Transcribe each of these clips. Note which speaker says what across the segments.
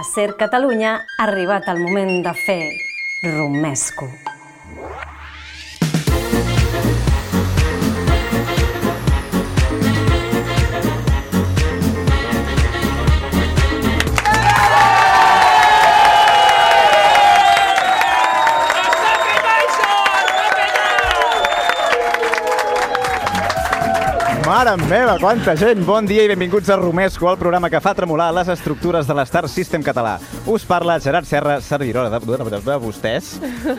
Speaker 1: A Ser Catalunya ha arribat el moment de fer romesco.
Speaker 2: Mare meva, quanta gent! Bon dia i benvinguts a Romesco, el programa que fa tremolar les estructures de l'Star System català. Us parla Gerard Serra, servidora de, de, de vostès,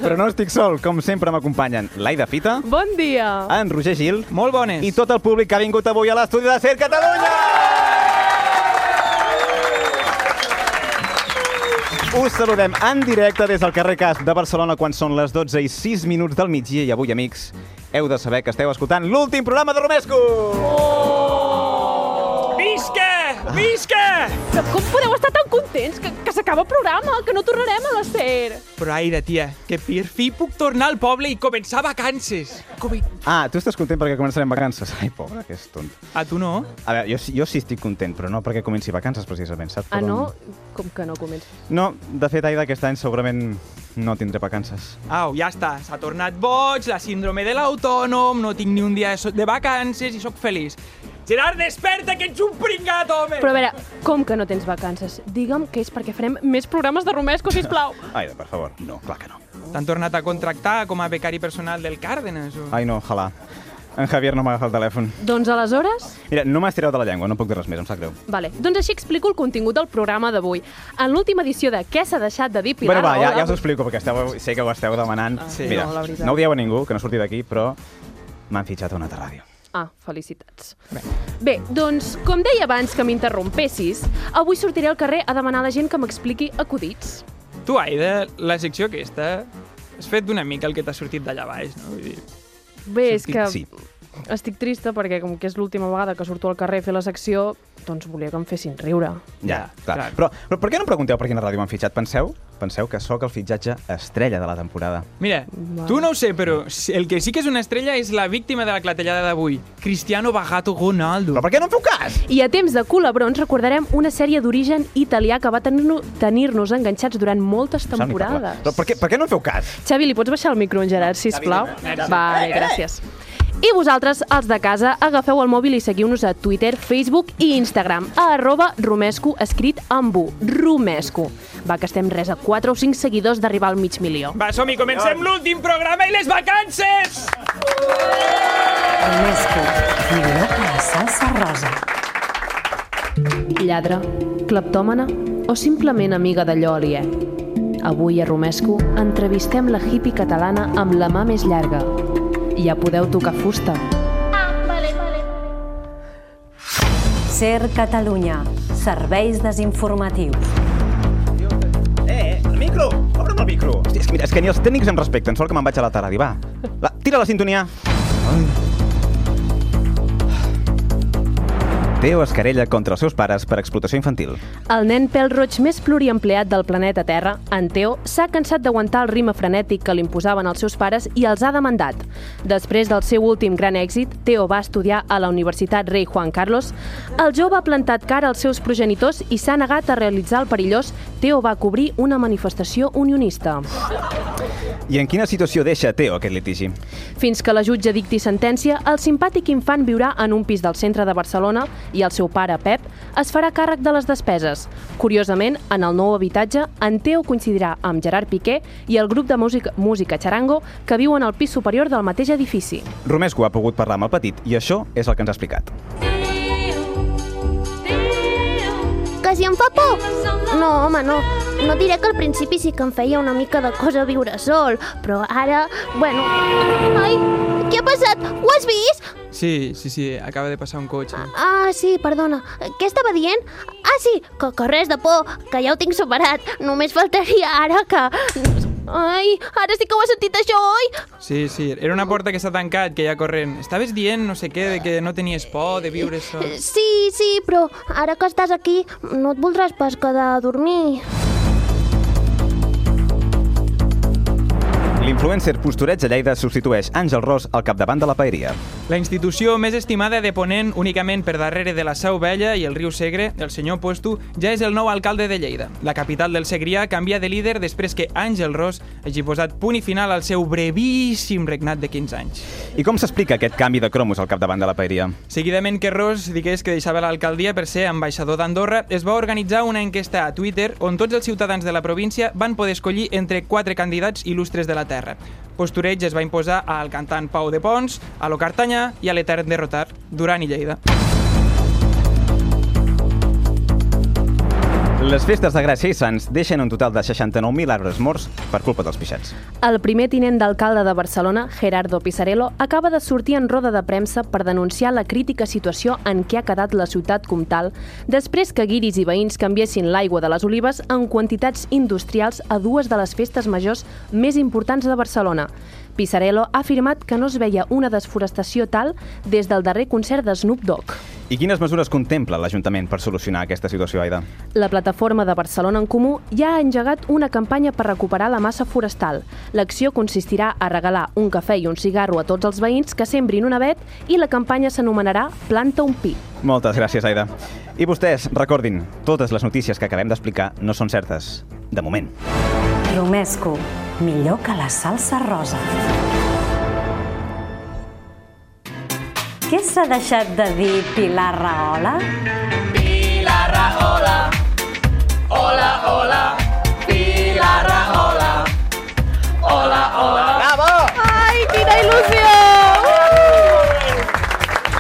Speaker 2: però no estic sol. Com sempre m'acompanyen l'Aida Fita,
Speaker 3: Bon dia!
Speaker 2: en Roger Gil
Speaker 4: Molt bones.
Speaker 2: i tot el públic que ha vingut avui a l'estudi de Ser Catalunya! Us saludem en directe des del carrer Casp de Barcelona quan són les 12 i 6 minuts del migdia i avui, amics, heu de saber que esteu escoltant l'últim programa de Romesco!
Speaker 4: Visca! Visca!
Speaker 3: Però com podeu estar tan contents que, que s'acaba el programa, que no tornarem a la SER?
Speaker 4: Però aire, tia, que per fi puc tornar al poble i començar vacances. Com...
Speaker 2: Ah, tu estàs content perquè començarem vacances? Ai, pobre, que és tont.
Speaker 4: A Ah, tu no?
Speaker 2: A veure, jo, sí- jo sí estic content, però no perquè comenci vacances, precisament, saps?
Speaker 3: Ah,
Speaker 2: Però-
Speaker 3: no? Com que no comença?
Speaker 2: No, de fet, Aida, aquest any segurament no tindré vacances.
Speaker 4: Au, ja està, s'ha tornat boig, la síndrome de l'autònom, no tinc ni un dia de so- de vacances i sóc feliç. Gerard, desperta, que ets un pringat, home!
Speaker 3: Però a veure, com que no tens vacances? Digue'm que és perquè farem més programes de romesco, sisplau.
Speaker 2: Aida, per favor. No, clar que no.
Speaker 4: T'han tornat a contractar com a becari personal del Cárdenas, o...
Speaker 2: Ai, no, ojalà. En Javier no m'agafa el telèfon.
Speaker 3: doncs aleshores...
Speaker 2: Mira, no m'has tirat de la llengua, no puc dir res més, em sap greu.
Speaker 3: Vale, doncs així explico el contingut del programa d'avui. En l'última edició de Què s'ha deixat de dir Pilar
Speaker 2: Bueno, va, ja,
Speaker 3: Rahola-
Speaker 2: ja us ho explico, perquè esteu, sé que ho esteu demanant.
Speaker 4: Ah, sí.
Speaker 2: Mira,
Speaker 4: no, la veritat.
Speaker 2: no ho dieu a ningú, que no surti d'aquí, però m'han fitxat a una altra ràdio.
Speaker 3: Ah, felicitats. Bé. Bé, doncs, com deia abans que m'interrompessis, avui sortiré al carrer a demanar a la gent que m'expliqui acudits.
Speaker 4: Tu, Aida, la secció aquesta... Has fet una mica el que t'ha sortit d'allà baix, no? Vull dir,
Speaker 3: Bé, és
Speaker 4: Sortit,
Speaker 3: que
Speaker 2: sí.
Speaker 3: estic trista perquè com que és l'última vegada que surto al carrer a fer la secció, doncs volia que em fessin riure.
Speaker 2: Ja,
Speaker 4: Ja,
Speaker 2: clar.
Speaker 4: clar.
Speaker 2: Però, però per què no em pregunteu per quina ràdio m'han fitxat? Penseu? Penseu que sóc el fitxatge estrella de la temporada.
Speaker 4: Mira,
Speaker 3: Vale.
Speaker 4: tu no ho sé, però el que sí que és una estrella és la víctima de la clatellada d'avui. Cristiano Bagato Ronaldo.
Speaker 2: Però per què no em feu cas?
Speaker 3: I a temps de culebrons recordarem una sèrie d'origen italià que va tenir- tenir-nos enganxats durant moltes
Speaker 2: No sap ni parlar.
Speaker 3: temporades.
Speaker 2: Però per què, per què no em feu cas?
Speaker 3: Xavi, li pots baixar el micro en Gerard, sisplau?
Speaker 4: Xavi,
Speaker 3: Vale, gràcies. I vosaltres, els de casa, agafeu el mòbil i seguiu-nos a Twitter, Facebook i Instagram, a arroba romesco, escrit amb U, romesco. Va, que estem res a 4 o 5 seguidors d'arribar al mig milió.
Speaker 4: Va, som-hi, comencem l'últim programa i les vacances!
Speaker 1: Romesco, millor que la salsa rosa.
Speaker 3: Lladre, cleptòmana o simplement amiga d'allò aliè? Avui a Romesco entrevistem la hippie catalana amb la mà més llarga. Ja podeu tocar fusta.
Speaker 1: Ser Catalunya, serveis desinformatius.
Speaker 2: Eh, el micro! Obre'm el micro! Hosti, és, que, mira, és que ni els tècnics em respecten, sort que me'n vaig a la taradi, va. La, tira la sintonia! Teo es querella contra els seus pares per explotació infantil.
Speaker 3: El nen pèl-roig més pluriempleat del planeta Terra, en Teo, s'ha cansat d'aguantar el ritme frenètic que li imposaven els seus pares i els ha demandat. Després del seu últim gran èxit, Teo va estudiar a la Universitat Rei Juan Carlos, el jove ha plantat cara als seus progenitors i s'ha negat a realitzar el perillós Teo va cobrir una manifestació unionista.
Speaker 2: I en quina situació deixa Teo aquest litigi?
Speaker 3: Fins que la jutge dicti sentència, el simpàtic infant viurà en un pis del centre de Barcelona i el seu pare, Pep, es farà càrrec de les despeses. Curiosament, en el nou habitatge, en Teo coincidirà amb Gerard Piqué i el grup de música, música Charango que viuen al pis superior del mateix edifici.
Speaker 2: Romesco ha pogut parlar amb el petit i això és el que ens ha explicat.
Speaker 5: Que si em fa por? No, home, no. No diré que al principi sí que em feia una mica de cosa viure sol, però ara, bueno... Ai, què ha passat? Ho has vist?
Speaker 4: Sí, sí, sí, acaba de passar un cotxe.
Speaker 5: Ah, sí, perdona. Què estava dient? Ah, sí, que, que res de por, que ja ho tinc superat. Només faltaria ara que... Ai, ara sí que ho has sentit això, oi?
Speaker 4: Sí, sí, era una porta que s'ha tancat, que hi ha corrent. Estaves dient no sé què, de que no tenies por de viure sol.
Speaker 5: Sí, sí, però ara que estàs aquí no et voldràs pas quedar a dormir.
Speaker 2: L'influencer postureig a Lleida substitueix Àngel Ros al capdavant de la paeria.
Speaker 4: La institució més estimada de Ponent, únicament per darrere de la Seu Vella i el riu Segre, el senyor Puesto, ja és el nou alcalde de Lleida. La capital del Segrià canvia de líder després que Àngel Ros hagi posat punt i final al seu brevíssim regnat de 15 anys.
Speaker 2: I com s'explica aquest canvi de cromos al capdavant de la paeria?
Speaker 4: Seguidament que Ros digués que deixava l'alcaldia per ser ambaixador d'Andorra, es va organitzar una enquesta a Twitter on tots els ciutadans de la província van poder escollir entre quatre candidats il·lustres de la terra. Postureig es va imposar al cantant Pau de Pons, a lo Cartanya i a l'etern derrotat Duran i Lleida.
Speaker 2: Les festes de Gràcia i Sants deixen un total de 69.000 arbres morts per culpa dels pixats.
Speaker 3: El primer tinent d'alcalde de Barcelona, Gerardo Pisarello, acaba de sortir en roda de premsa per denunciar la crítica situació en què ha quedat la ciutat comtal després que guiris i veïns canviessin l'aigua de les olives en quantitats industrials a dues de les festes majors més importants de Barcelona. Pisarello ha afirmat que no es veia una desforestació tal des del darrer concert de Snoop Dogg.
Speaker 2: I quines mesures contempla l'Ajuntament per solucionar aquesta situació, Aida?
Speaker 3: La plataforma de Barcelona en Comú ja ha engegat una campanya per recuperar la massa forestal. L'acció consistirà a regalar un cafè i un cigarro a tots els veïns que sembrin un avet i la campanya s'anomenarà Planta un pi.
Speaker 2: Moltes gràcies, Aida. I vostès, recordin, totes les notícies que acabem d'explicar no són certes. De moment.
Speaker 1: Romesco, millor que la salsa rosa. Què s'ha deixat de dir Pilar Rahola?
Speaker 5: Ai, quina il·lusió!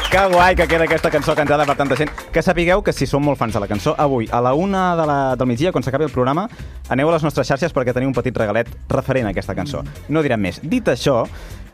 Speaker 2: Que guai que queda aquesta cançó cantada per tanta gent. Que sapigueu que si som molt fans de la cançó, avui, a la una de la, del migdia, quan s'acabi el programa, aneu a les nostres xarxes perquè teniu un petit regalet referent a aquesta cançó. No direm més. Dit això,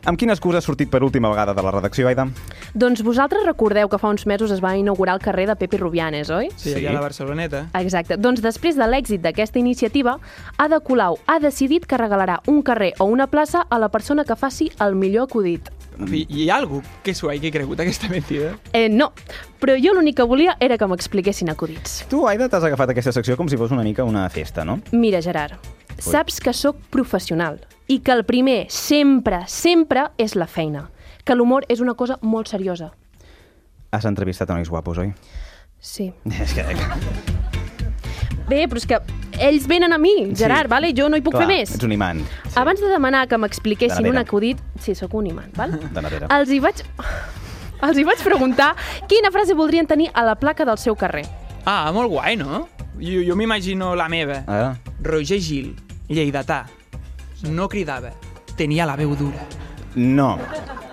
Speaker 2: amb quina excusa ha sortit per última vegada de la redacció, Aida?
Speaker 3: Doncs vosaltres recordeu que fa uns mesos es va inaugurar el carrer de Pepe Rubianes, oi?
Speaker 2: Sí.
Speaker 4: Sí, sí. allà a la Barceloneta.
Speaker 3: Exacte. Doncs després de l'èxit d'aquesta iniciativa, Ada Colau ha decidit que regalarà un carrer o una plaça a la persona que faci el millor acudit.
Speaker 4: En fi, hi ha algú que s'ho hagi cregut, aquesta mentida?
Speaker 3: Eh, no, però jo l'únic que volia era que m'expliquessin acudits.
Speaker 2: Tu, Aida, t'has agafat aquesta secció com si fos una mica una festa, no?
Speaker 3: Mira, Gerard, saps que sóc professional i que el primer, sempre, sempre, és la feina. Que l'humor és una cosa molt seriosa.
Speaker 2: Has entrevistat a nois guapos, oi?
Speaker 3: Sí.
Speaker 2: És que...
Speaker 3: Bé, però és que ells venen a mi, Gerard, vale? jo no hi puc
Speaker 2: Clar,
Speaker 3: fer més.
Speaker 2: Ets un imant.
Speaker 3: Abans de demanar que m'expliquessin
Speaker 2: Dona,
Speaker 3: un
Speaker 2: Vera.
Speaker 3: acudit... Sí, sóc un imant, val?
Speaker 2: Dona, Vera.
Speaker 3: Els hi vaig... Els hi vaig preguntar quina frase voldrien tenir a la placa del seu carrer.
Speaker 4: Ah, molt guai, no? Jo, jo m'imagino la meva.
Speaker 2: Ah.
Speaker 4: Roger Gil, lleidatà. No cridava, tenia la veu dura.
Speaker 2: No,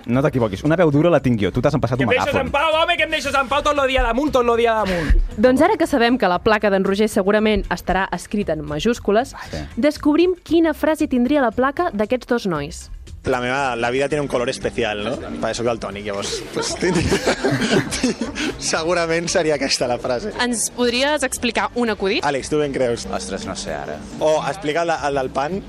Speaker 2: no t'equivoquis. Una veu dura la tinc jo. Tu t'has empassat
Speaker 4: Que
Speaker 2: un
Speaker 4: em deixes en
Speaker 2: megàfon.
Speaker 4: pau, home, que em deixes en pau tot el dia damunt, tot el dia damunt.
Speaker 3: Doncs ara que sabem que la placa d'en Roger segurament estarà escrita en majúscules,
Speaker 2: Sí.
Speaker 3: descobrim quina frase tindria la placa d'aquests dos nois.
Speaker 6: La, meva, la vida tiene un color especial, no? Per això que el tònic, llavors. Pues, segurament seria aquesta la frase.
Speaker 7: Ens podries explicar un acudit?
Speaker 6: Àlex, tu ben creus?
Speaker 8: Ostres, no sé ara.
Speaker 6: O explica el, el del pan.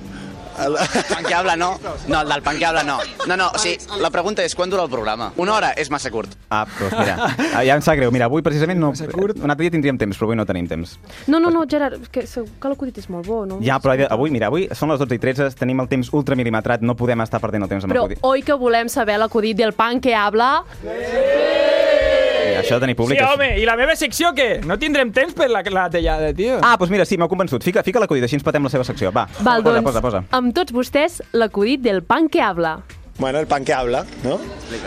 Speaker 6: El...
Speaker 8: Pan que habla no. No, el del pan que habla no. No, no, o sigui, la pregunta és quan dura el programa? Una hora és massa curt.
Speaker 2: Ah, doncs mira, ah, ja em sap greu. Mira, avui precisament no...
Speaker 4: curt.
Speaker 2: Un altre dia tindríem temps, però avui no tenim temps.
Speaker 3: No, no, no, Gerard, és que, segur que l'acudit és molt bo, no?
Speaker 2: Ja, però Aida, avui, mira, avui són les 12 i 13, tenim el temps ultramil·limetrat, no podem estar perdent el temps amb
Speaker 3: Però
Speaker 2: acudit.
Speaker 3: oi que volem saber l'acudit del pan que habla?
Speaker 2: Eh, Això de tenir
Speaker 4: Sí,
Speaker 2: públic... és-
Speaker 4: home, i la meva secció, què? No tindrem temps per la, la tallada, tio.
Speaker 2: Ah, doncs mira, sí, m'heu convençut. Fica, fica l'acudit, així ens patem la seva secció. Va,
Speaker 3: Val,
Speaker 2: posa,
Speaker 3: doncs,
Speaker 2: posa, posa.
Speaker 3: amb tots vostès, l'acudit del pan que habla.
Speaker 6: Bueno, el pan que habla, no?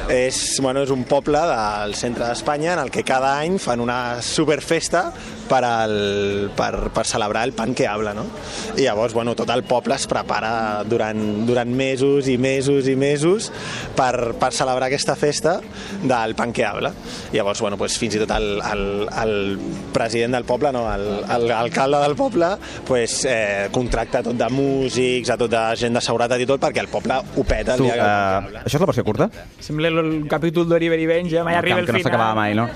Speaker 6: És, bueno, és un poble del centre d'Espanya en el que cada any fan una superfesta per, al, per, per celebrar el pan que habla, no? I llavors, bueno, tot el poble es prepara durant, durant mesos i mesos i mesos per, per celebrar aquesta festa del pan que habla. I llavors, bueno, pues, fins i tot el, el, el president del poble, no, l'alcalde del poble, pues, eh, contracta tot de músics, a tota gent de seguretat i tot, perquè el poble ho peta el
Speaker 2: Tu,
Speaker 6: dia que el pan que
Speaker 2: eh,
Speaker 6: habla.
Speaker 2: això és la versió curta?
Speaker 4: Sembla el, el capítol d'Oliver i Benja, mai arriba
Speaker 2: que,
Speaker 4: el
Speaker 2: que no
Speaker 4: final.
Speaker 2: s'acabava mai, no?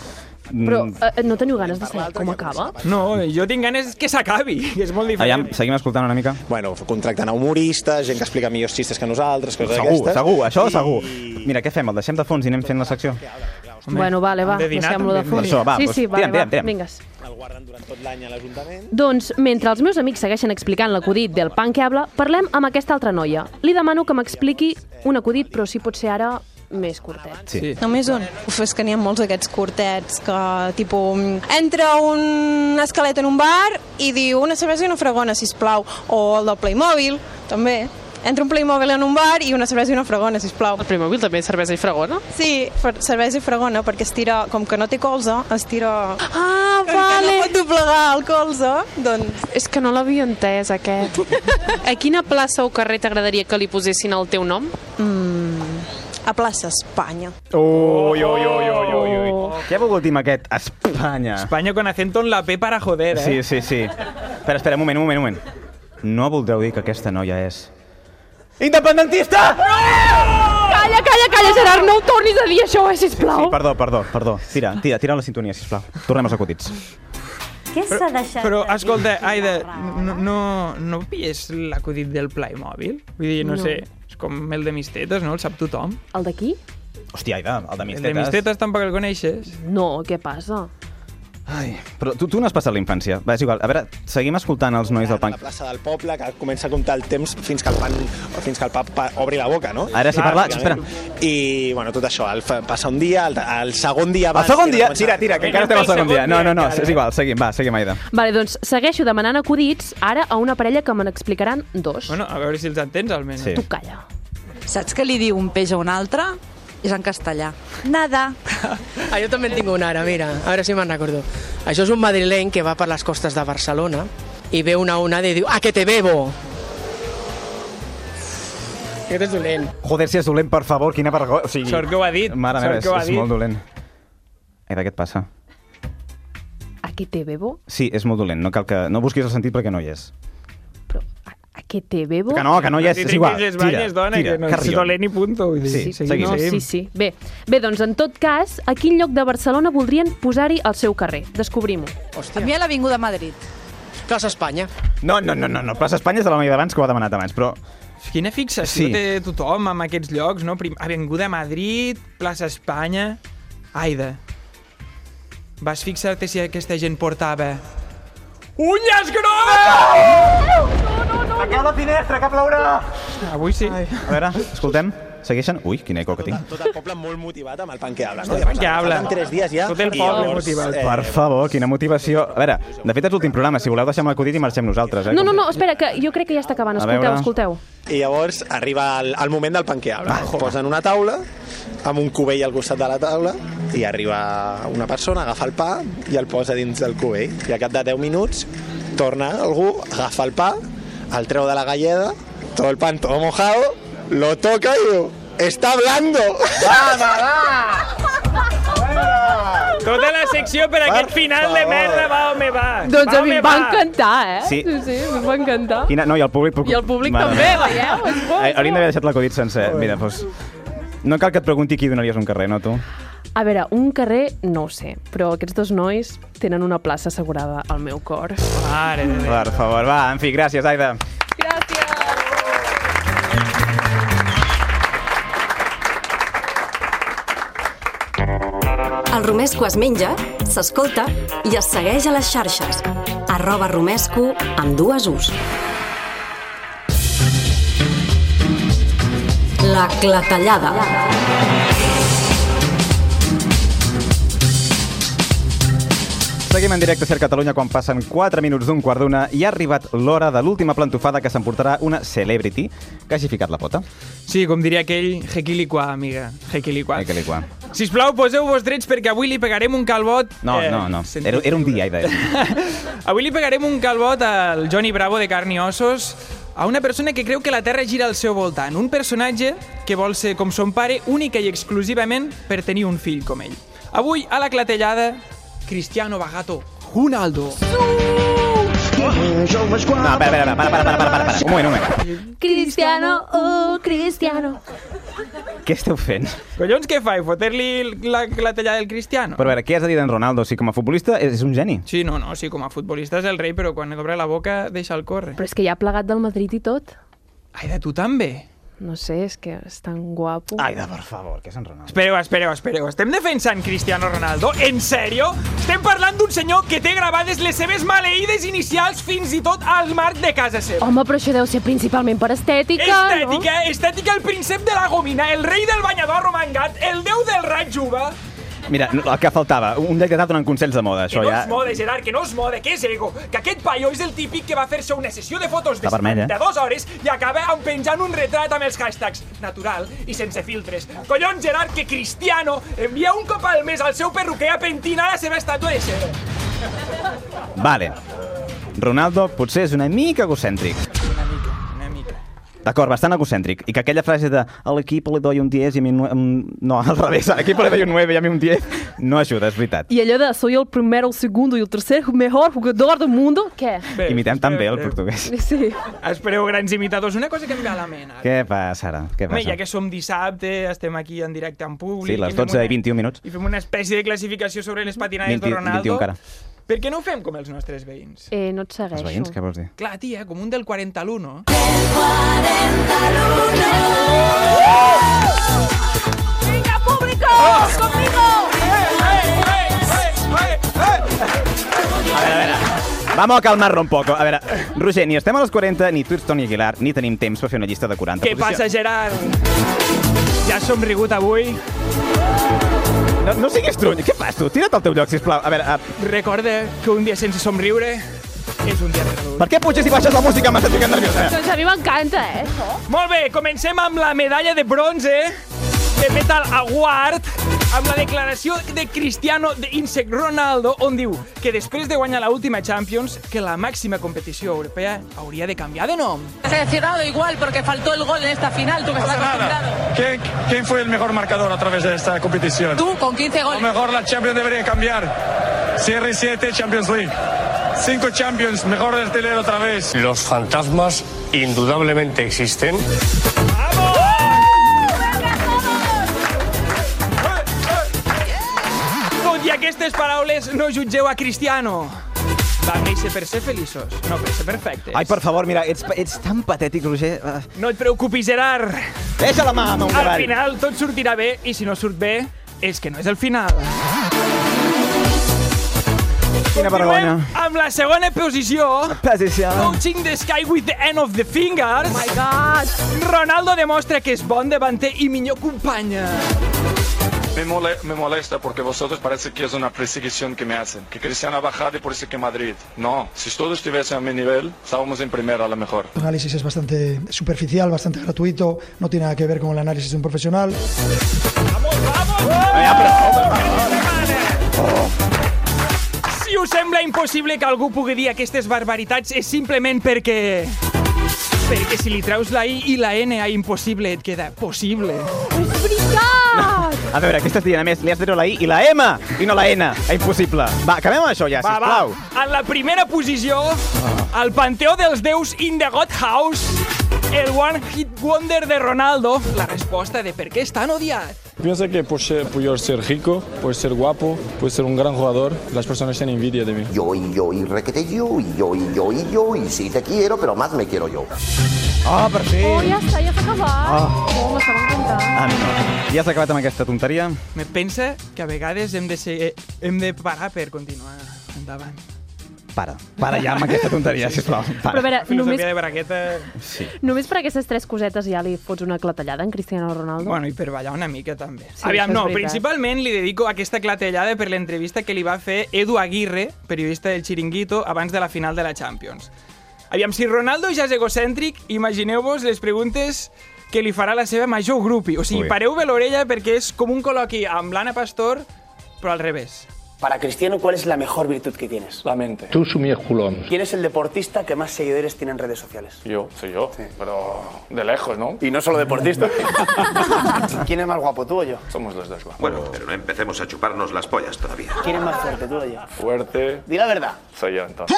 Speaker 3: Però
Speaker 2: Mm,
Speaker 3: eh, no teniu ganes de saber com acaba?
Speaker 4: No, jo tinc ganes que s'acabi, que és molt
Speaker 2: Aviam,
Speaker 4: diferent.
Speaker 2: seguim escoltant una mica?
Speaker 6: bueno, contracten a humoristes, gent que explica millors xistes que nosaltres, coses
Speaker 2: Segur,
Speaker 6: d'aquestes.
Speaker 2: segur, això
Speaker 6: I-
Speaker 2: segur. Mira, què fem? El deixem de fons i anem fent la secció?
Speaker 3: Bueno, vale, va,
Speaker 4: hem de dinar,
Speaker 3: deixem-lo de
Speaker 4: també.
Speaker 3: fons.
Speaker 2: Doncs això, va,
Speaker 3: sí,
Speaker 2: doncs,
Speaker 3: sí, vale,
Speaker 2: tira'm, tira'm,
Speaker 3: va,
Speaker 2: tira'm.
Speaker 3: vingues.
Speaker 6: El guarden durant tot l'any a l'Ajuntament.
Speaker 3: Doncs, mentre els meus amics segueixen explicant l'acudit del pan que habla, parlem amb aquesta altra noia. Li demano que m'expliqui un acudit, però si pot ser ara més curtet.
Speaker 2: Sí. sí.
Speaker 9: Només un? Uf, és que n'hi ha molts d'aquests curtets que, tipus, entra un esquelet en un bar i diu una cervesa i una fregona, si plau. O el del Playmobil, també. Entra un Playmobil en un bar i una cervesa i una fregona, si plau.
Speaker 7: El Playmobil també és cervesa i fregona?
Speaker 9: Sí, fer- cervesa i fregona, perquè es tira, com que no té colze, es tira... Ah, vale! no pot doblegar el colze, doncs...
Speaker 7: És que no l'havia entès, aquest. A quina plaça o carrer t'agradaria que li posessin el teu nom?
Speaker 9: A plaça Espanya.
Speaker 2: Ui, ui, ui, ui, ui, ui. Què ha volgut dir amb aquest? Espanya.
Speaker 4: España con acento en la P para joder, eh?
Speaker 2: Sí, sí, sí. Espera, espera, un moment, un moment, un moment. No voldreu dir que aquesta noia és... Independentista!
Speaker 3: Calla, calla, calla, Gerard, no ho tornis a dir això, eh, sisplau.
Speaker 2: Sí, perdó, perdó, perdó. Tira, tira, tira la sintonia, sisplau. Tornem als acudits.
Speaker 1: Què s'ha deixat de
Speaker 4: Però,
Speaker 1: dir?
Speaker 4: escolta, Aida, no,
Speaker 1: eh?
Speaker 4: no, no pilles l'acudit del Playmobil? Vull dir, no,
Speaker 3: No.
Speaker 4: no, sé, és com el de Mistetes, no? El sap tothom.
Speaker 3: El d'aquí?
Speaker 2: Hòstia, Aida, el de
Speaker 4: El
Speaker 2: Mistetes.
Speaker 4: de Mistetes tampoc el coneixes.
Speaker 3: No, què passa?
Speaker 2: Ai, però tu, tu no has passat la infància. Va, és igual. A veure, seguim escoltant els nois
Speaker 6: a
Speaker 2: del
Speaker 6: la
Speaker 2: punk.
Speaker 6: plaça del poble, que comença a comptar el temps fins que el pan, fins que el pap pa- obri la boca, no?
Speaker 2: Ara sí, parla- espera.
Speaker 6: I, bueno, tot això, el, fa- passa un dia, el, el segon dia
Speaker 2: El
Speaker 6: abans...
Speaker 2: segon
Speaker 6: que
Speaker 2: dia...
Speaker 6: comença-
Speaker 2: Tira, tira, que encara estem al segon dia. No, no, no, és igual, seguim, va, seguim, Aida.
Speaker 3: Vale, doncs segueixo demanant acudits ara a una parella que me n'explicaran dos.
Speaker 4: Bueno, a veure si els entens, almenys.
Speaker 2: Sí.
Speaker 3: Tu calla.
Speaker 10: Saps què li diu un peix a un altre? És en castellà. Nada.
Speaker 11: Ah, jo també en tinc una ara, mira, a veure si me'n recordo. Això és un madrileny que va per les costes de Barcelona i ve una onada i diu «A que te bebo!» Aquest és dolent.
Speaker 2: Joder, si és dolent, per favor, quina vergonya. O sigui...
Speaker 4: Sort que ho ha dit.
Speaker 2: Mare
Speaker 4: Sort
Speaker 2: meva, és,
Speaker 4: que ho ha
Speaker 2: és
Speaker 4: dit.
Speaker 2: molt dolent. Aida, què et passa?
Speaker 3: A què te bebo?
Speaker 2: Sí, és molt dolent. No cal que... No busquis el sentit perquè no hi és.
Speaker 3: Però a, a què te bebo?
Speaker 2: Que no, que no hi és,
Speaker 4: Ni
Speaker 2: és igual.
Speaker 4: trenquis les
Speaker 2: Tira,
Speaker 4: banyes, dona,
Speaker 2: tira,
Speaker 4: que no és
Speaker 2: carrion.
Speaker 4: dolent i punto. Vull dir,
Speaker 2: Sí,
Speaker 4: seguim,
Speaker 2: seguim.
Speaker 3: No, sí,
Speaker 4: seguim.
Speaker 3: sí. Bé, bé, doncs en tot cas, a quin lloc de Barcelona voldrien posar-hi el seu carrer? Descobrim-ho.
Speaker 10: A
Speaker 11: Hòstia.
Speaker 10: mi a l'Avinguda Madrid.
Speaker 11: Plaça Espanya.
Speaker 2: No, no, no, no, no. Plaça Espanya és de la noia d'abans que ho ha demanat abans, però...
Speaker 4: Quina fixació
Speaker 2: Sí.
Speaker 4: sí. té tothom amb aquests llocs, no? Prim- Avinguda Madrid, plaça Espanya... Aida, vas fixar-te si aquesta gent portava... Unyes grogues!
Speaker 2: Taqueu la finestra, que plourà!
Speaker 4: Avui sí.
Speaker 2: A veure, escoltem. Segueixen? Ui, quina eco que tinc.
Speaker 6: Tot el poble molt motivat amb el pan que habla, no?
Speaker 4: pan que habla.
Speaker 6: En tres dies ja...
Speaker 4: Tot el
Speaker 6: i
Speaker 4: poble
Speaker 6: llavors,
Speaker 4: motivat.
Speaker 6: eh,
Speaker 2: Per favor, quina motivació. A veure, de fet és l'últim programa. Si voleu, deixem l'acudit i marxem nosaltres. Eh?
Speaker 3: No, no, no, espera, que jo crec que ja està acabant.
Speaker 2: A
Speaker 3: Escolteu,
Speaker 2: veure.
Speaker 3: escolteu.
Speaker 6: I llavors arriba el, el moment del pan que
Speaker 2: Ah,
Speaker 6: habla. Posen una taula amb un cubell al costat de la taula i arriba una persona, agafa el pa i el posa dins del cubell. I a cap de 10 minuts torna algú, agafa el pa, el treu de la galleda, todo el pan todo mojado, lo toca i diu, está blando.
Speaker 4: Tota la secció per aquest final de
Speaker 6: favor.
Speaker 4: merda, va, home, va.
Speaker 3: Doncs
Speaker 4: va,
Speaker 3: a mi
Speaker 4: home,
Speaker 3: em va
Speaker 4: va.
Speaker 3: encantar, eh?
Speaker 2: Sí.
Speaker 3: sí, sí em va encantar.
Speaker 2: Quina... No, i el públic...
Speaker 3: I el públic
Speaker 2: Mare
Speaker 3: també,
Speaker 2: meva.
Speaker 3: veieu? És bo,
Speaker 2: Ai,
Speaker 3: és
Speaker 2: Hauríem
Speaker 3: bo.
Speaker 2: d'haver Eh, deixat l'acudit sencer. Mira, doncs... No cal que et pregunti qui donaries un carrer, no, tu?
Speaker 3: A veure, un carrer no ho sé, però aquests dos nois tenen una plaça assegurada al meu cor.
Speaker 4: Mare de Déu.
Speaker 2: Per favor, va, en fi, gràcies, Aida.
Speaker 1: El romesco es menja, s'escolta i es segueix a les xarxes. Arroba romesco amb dues ús. La clatellada.
Speaker 2: Seguim en directe a Ser Catalunya quan passen 4 minuts d'un quart d'una i ha arribat l'hora de l'última plantofada que s'emportarà una celebrity que hagi ficat la pota.
Speaker 4: Sí, com diria aquell, jequiliquà, amiga. Jequiliquà.
Speaker 2: Ai, que li guà.
Speaker 4: Sisplau, poseu-vos drets perquè avui li pegarem un calbot...
Speaker 2: No,
Speaker 4: eh,
Speaker 2: no, no.
Speaker 4: sentit
Speaker 2: Era, era un
Speaker 4: lliure.
Speaker 2: dia, Aida. eh.
Speaker 4: Avui li pegarem un calbot al Johnny Bravo de Carn i Ossos, a una persona que creu que la Terra gira al seu voltant, un personatge que vol ser com son pare única i exclusivament per tenir un fill com ell. Avui, a la clatellada, Cristiano Bagato Ronaldo.
Speaker 2: No, espera, espera, para, para, para, para, para, para. Un moment, un moment.
Speaker 5: Cristiano, oh, Cristiano.
Speaker 2: Què esteu fent?
Speaker 4: Collons, què fa? Foter-li la clatellada del Cristiano?
Speaker 2: Però a veure, què has de dir d'en Ronaldo? O sigui, com a futbolista és, és un geni.
Speaker 4: Sí, no, no, sí, com a futbolista és el rei, però quan obre la boca deixa el córrer.
Speaker 3: Però és que ja ha plegat del Madrid i tot.
Speaker 4: Aida, tu també?
Speaker 3: No sé, és que és tan guapo.
Speaker 2: Aida, per favor, que és en Ronaldo.
Speaker 4: Espereu, espereu, espereu. Estem defensant Cristiano Ronaldo? En sèrio? Estem parlant d'un senyor que té gravades les seves maleïdes inicials fins i tot al marc de casa seva.
Speaker 3: Home, però això deu ser principalment per estètica,
Speaker 4: estètica, estètica, el príncep de la gomina, el rei del banyador romangat, el déu del ratjuva.
Speaker 2: Mira, el que faltava, un dec de donant consells de moda,
Speaker 4: Que
Speaker 2: això
Speaker 4: no
Speaker 2: ja...
Speaker 4: es mode, Gerard, que no es mode, que és ego. Que aquest paio és el típic que va fer-se una sessió de fotos de
Speaker 2: Està vermell, eh?
Speaker 4: 72 hores i acaba amb penjant un retrat amb els hashtags natural i sense filtres. Collons, Gerard, que Cristiano envia un cop al mes al seu perruquer a pentinar la seva estàtua de cera.
Speaker 2: Vale. Ronaldo potser és una mica egocèntric.
Speaker 4: Una mica.
Speaker 2: D'acord, bastant egocèntric. I que aquella frase de a l'equip li doy un 10 i a mi un... nue-" mm, No, al revés, a l'equip li doy un 9 i a mi un 10 no ajuda, és veritat.
Speaker 3: I allò de soy el primer, el segundo i el tercer mejor jugador del mundo, què?
Speaker 2: Imitem també el portuguès.
Speaker 3: Sí.
Speaker 4: eh, Espereu, grans imitadors, una cosa que em ve a la ment. ara.
Speaker 2: Què passa ara? Què
Speaker 4: Home, ja
Speaker 2: passa?
Speaker 4: que som dissabte, estem aquí en directe en públic...
Speaker 2: Sí, les
Speaker 4: i fem
Speaker 2: 12
Speaker 4: una-
Speaker 2: i 21 minuts.
Speaker 4: I fem una espècie de classificació sobre les patinades
Speaker 2: 20,
Speaker 4: de Ronaldo.
Speaker 2: 21 encara.
Speaker 4: Per què no ho fem com els nostres veïns?
Speaker 3: Eh, no et segueixo.
Speaker 2: Els veïns, què vols dir?
Speaker 4: Clar, tia, com un del 40 a l'1.
Speaker 12: ¡Venga, público! ¡Conmigo!
Speaker 2: A veure, a veure. Vamos a calmar-lo un poco. A veure, Roger, ni estem a les 40, ni tu ets Toni Aguilar, ni tenim temps per fer una llista de 40
Speaker 4: Què passa, Gerard? Ja has somrigut avui?
Speaker 2: No, no siguis truny, què fas tu? Tira't al teu lloc, sisplau. A veure, eh, a...
Speaker 4: Recorda que un dia sense somriure és un dia perdut.
Speaker 2: per què puges i baixes la música? M'estàs ficant nerviosa.
Speaker 3: Doncs a mi m'encanta, eh, això.
Speaker 4: Molt bé, comencem amb la medalla de bronze de Metal Award amb la declaració de Cristiano de Insect Ronaldo on diu que després de guanyar la última Champions que la màxima competició europea hauria de canviar de nom.
Speaker 13: Decepcionado igual porque faltó el gol en esta final, tú que estás acostumbrado.
Speaker 14: ¿Quién, quién fue el mejor marcador a través de esta competición?
Speaker 13: Tú con 15
Speaker 14: A lo
Speaker 13: goles.
Speaker 14: mejor la Champions debería cambiar. CR7 Champions League. Cinco Champions, mejor artilero otra vez.
Speaker 15: Los fantasmas indudablemente existen.
Speaker 4: Tot i aquestes paraules, no jutgeu a Cristiano. Vam néixer per ser feliços, no per ser perfectes.
Speaker 2: Ai, per favor, mira, ets, ets tan patètic, Roger. Ah.
Speaker 4: No et preocupis, Gerard.
Speaker 2: Deixa la mà, meu
Speaker 4: Al
Speaker 2: cavall.
Speaker 4: final tot sortirà bé i si no surt bé és que no és el final.
Speaker 2: Quina vergonya.
Speaker 4: Amb la segona posició...
Speaker 2: Posició.
Speaker 4: Coaching the sky with the end of the fingers. Oh my God. Ronaldo demostra que és bon davanter i millor companya.
Speaker 14: Me, mole- me molesta porque vosotros parece que es una perseguición que me hacen. Que Cristiano ha bajado y por eso que Madrid. No, si todos estuviesen a mi nivel, estábamos en primera a lo mejor.
Speaker 16: El análisis es bastante superficial, bastante gratuito, no tiene nada que ver con el análisis de un profesional.
Speaker 4: Si us sembla impossible que algú pugui dir aquestes barbaritats és simplement perquè... Perquè si li treus la I i la N a impossible et queda possible.
Speaker 12: ¡Es verdad!
Speaker 2: A veure, què estàs dient? A més, li has de treure la I i la M, i no la N. És impossible. Va, acabem amb això ja,
Speaker 4: Va, va. Ah.
Speaker 2: sisplau.
Speaker 4: En la primera posició, el Panteó dels Déus in the God House, el One Hit Wonder de Ronaldo, la resposta de per què és tan odiat.
Speaker 17: Pienso que por ser, por ser rico, por ser guapo, por ser un gran jugador, las personas tienen envidia de mí.
Speaker 18: Yo y yo y requete yo y yo y yo y yo y sí te quiero, pero más me quiero yo.
Speaker 2: Ah, per fi.
Speaker 3: Oh, ja està, ja s'ha acabat.
Speaker 2: Ah.
Speaker 3: Oh, m'estava encantant.
Speaker 2: Ah, no. Ja s'ha acabat amb aquesta tonteria.
Speaker 4: Me pensa que a vegades hem de, ser, eh, hem de parar per continuar endavant.
Speaker 2: Para. Para ja amb aquesta tonteria, sisplau.
Speaker 3: Però a
Speaker 2: Para.
Speaker 3: veure, només,
Speaker 4: Filosofia de braqueta...
Speaker 2: Sí.
Speaker 3: només per aquestes tres cosetes ja li fots una clatellada en Cristiano Ronaldo?
Speaker 4: Bueno, i per ballar una mica també.
Speaker 3: Sí,
Speaker 4: Sí, Aviam,
Speaker 3: això és
Speaker 4: no,
Speaker 3: veritat.
Speaker 4: principalment li dedico aquesta clatellada per l'entrevista que li va fer Edu Aguirre, periodista del Chiringuito, abans de la final de la Champions. Aviam, si Ronaldo ja és egocèntric, imagineu-vos les preguntes que li farà la seva major grupi. O sigui,
Speaker 19: Ui.
Speaker 4: pareu bé l'orella perquè és com un col·loqui amb l'Anna Pastor, però al revés.
Speaker 19: Para Cristiano, ¿cuál es la mejor virtud que tienes? La mente.
Speaker 17: Tú sumías culón.
Speaker 19: ¿Quién es el deportista que más seguidores tiene en redes sociales?
Speaker 17: Yo, soy yo, pero de lejos, ¿no?
Speaker 19: Y no solo deportista. ¿Quién es más guapo, tú o yo?
Speaker 17: Somos los dos guapos.
Speaker 20: Bueno, pero no empecemos a chuparnos las pollas todavía.
Speaker 19: ¿Quién es más fuerte, tú o yo?
Speaker 17: Fuerte
Speaker 19: Di la verdad.
Speaker 17: soy yo, entonces.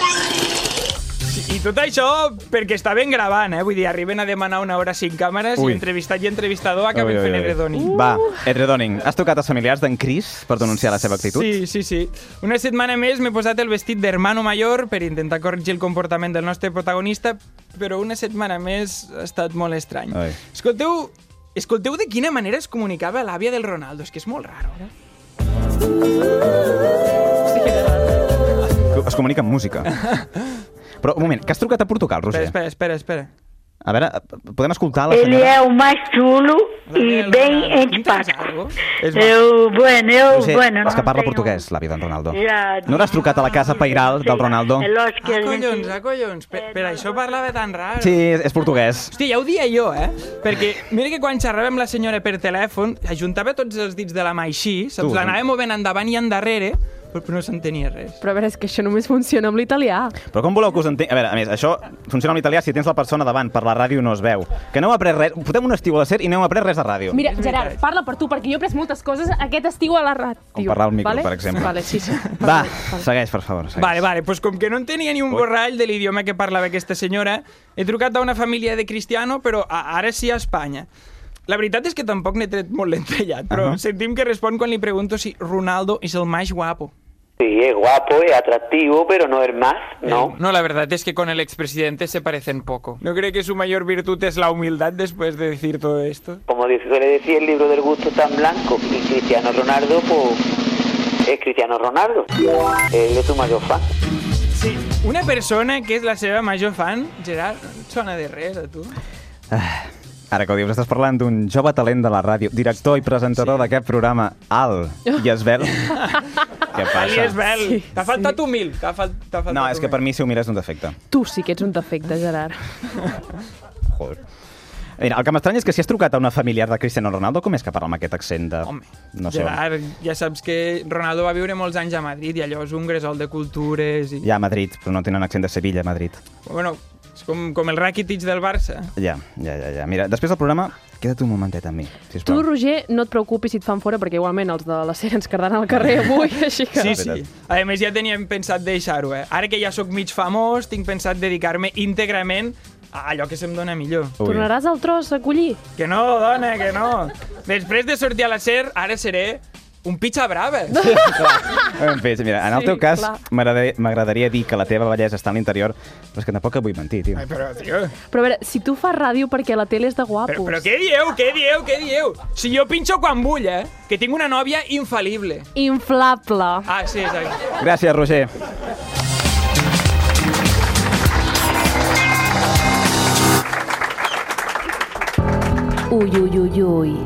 Speaker 4: I tot això perquè està ben gravant, eh? Vull dir, arriben a demanar una hora sin càmeres
Speaker 2: Ui.
Speaker 4: i entrevistat i entrevistador acaben fent edredoni.
Speaker 2: Va, edredoning. Has tocat els familiars d'en Cris per denunciar la seva actitud?
Speaker 4: Sí, sí, sí. Una setmana més m'he posat el vestit d'hermano major per intentar corregir el comportament del nostre protagonista, però una setmana més ha estat molt estrany.
Speaker 2: Ai.
Speaker 4: Escolteu, escolteu de quina manera es comunicava l'àvia del Ronaldo, és que és molt raro. Eh?
Speaker 2: Es comunica amb música. Però, un moment, que has trucat a Portugal, Roger?
Speaker 4: Espera, espera, espera.
Speaker 2: A veure, podem escoltar la
Speaker 21: Ele
Speaker 2: senyora?
Speaker 21: é o mais chulo e bem empático. Eu, bueno, eu,
Speaker 2: Roger,
Speaker 21: oh, bueno,
Speaker 2: és que
Speaker 21: não
Speaker 2: parla
Speaker 21: tenho-
Speaker 2: portuguès, l'àvia d'en Ronaldo.
Speaker 21: Ja,
Speaker 2: No l'has trucat a la casa pairal del Ronaldo?
Speaker 21: É lógico que
Speaker 4: Ah,
Speaker 21: a
Speaker 4: collons,
Speaker 21: gente...
Speaker 4: ah, collons. Per, per això parlava tan rar.
Speaker 2: Sí, és és portuguès.
Speaker 4: Hòstia, ja ho dia jo, eh? Perquè mira que quan xerrava amb la senyora per telèfon, ajuntava tots els dits de la mà així,
Speaker 2: Tu,
Speaker 4: saps? L'anava movent endavant i endarrere, però però no s'entenia res.
Speaker 3: Però a veure, és que això només funciona amb l'italià.
Speaker 2: Però com voleu que us entengui? A veure, a més, això funciona en italià si tens la persona davant, per la ràdio no es veu. Que no heu après res... Portem un estiu a la SER i no heu après res de ràdio.
Speaker 22: Mira, Gerard, parla per tu, perquè jo he après moltes coses aquest estiu a la ràdio.
Speaker 2: Com parlar al micro,
Speaker 22: vale?
Speaker 2: per exemple.
Speaker 22: Vale, sí, sí.
Speaker 2: Va, segueix, per favor. Segueix.
Speaker 4: Vale, vale, pues com que no en tenia ni un borrall de l'idioma que parlava aquesta senyora, he trucat a una família de Cristiano, però a, ara sí a Espanya. La veritat és que tampoc n'he tret molt l'entrellat, però uh
Speaker 23: Ahà.
Speaker 4: -huh. sentim que respon quan li pregunto si Ronaldo és el més guapo.
Speaker 23: Sí, es guapo, es atractivo, pero no es más, ¿no?
Speaker 4: No, la verdad es que con el expresidente se parecen poco. ¿No cree que su mayor virtud es la humildad después de decir todo esto?
Speaker 23: Como dice- suele decir el libro del gusto tan blanco, y Cristiano Ronaldo, pues es Cristiano Ronaldo. Él es su mayor fan.
Speaker 4: Sí. Una persona que és la seva major fan, Gerard, no et sona de res, a tu?
Speaker 2: Ah, Ara que ho dius, estàs parlant d'un jove talent de la ràdio, director i presentador sí. d'aquest programa, Al i Esbel. Què
Speaker 4: Ali
Speaker 2: passa?
Speaker 4: és bel. Sí, T'ha faltat sí. humil. T'ha fal... t'ha faltat
Speaker 2: No, és que per mi si ho mires és un defecte.
Speaker 3: Tu sí que ets un defecte, Gerard.
Speaker 2: Joder. Mira, el que m'estranya és que si has trucat a una familiar de Cristiano Ronaldo, com és que parla amb aquest accent de...
Speaker 4: Home,
Speaker 2: no sé on.
Speaker 4: Gerard, ja saps que Ronaldo va viure molts anys a Madrid i allò és un gresol de cultures i...
Speaker 2: Ja a Madrid, però no tenen accent de Sevilla, a Madrid.
Speaker 4: Bueno, és com, com el Rakitic del Barça.
Speaker 2: Ja, ja, ja, ja. Mira, després del programa, queda't un momentet amb mi,
Speaker 3: Tu,
Speaker 2: sisplau.
Speaker 3: Roger, no et preocupis si et fan fora, perquè igualment els de la sèrie ens quedaran al carrer avui, així que...
Speaker 4: Sí, sí. A més, ja teníem pensat deixar-ho, eh? Ara que ja sóc mig famós, tinc pensat dedicar-me íntegrament a allò que se'm dona millor.
Speaker 3: Tornaràs al tros a collir?
Speaker 4: Que no, dona, que no. Després de sortir a la SER, ara seré un pitxa brava.
Speaker 2: En fi, sí, mira, en el
Speaker 4: Sí,
Speaker 2: teu cas,
Speaker 4: clar.
Speaker 2: m'agradaria m'agradaria dir que la teva bellesa està a l'interior, però és que tampoc et vull mentir, tio.
Speaker 4: Però, tio,
Speaker 3: Però a veure, si tu fas ràdio perquè la tele és de guapos...
Speaker 4: però, però què dieu, què dieu, què dieu? Si jo pinxo quan vull, eh? Que tinc una nòvia infal·lible.
Speaker 3: Inflable.
Speaker 4: Ah, sí, exacte.
Speaker 2: Gràcies, Roger.
Speaker 3: Ui, ui, ui, ui.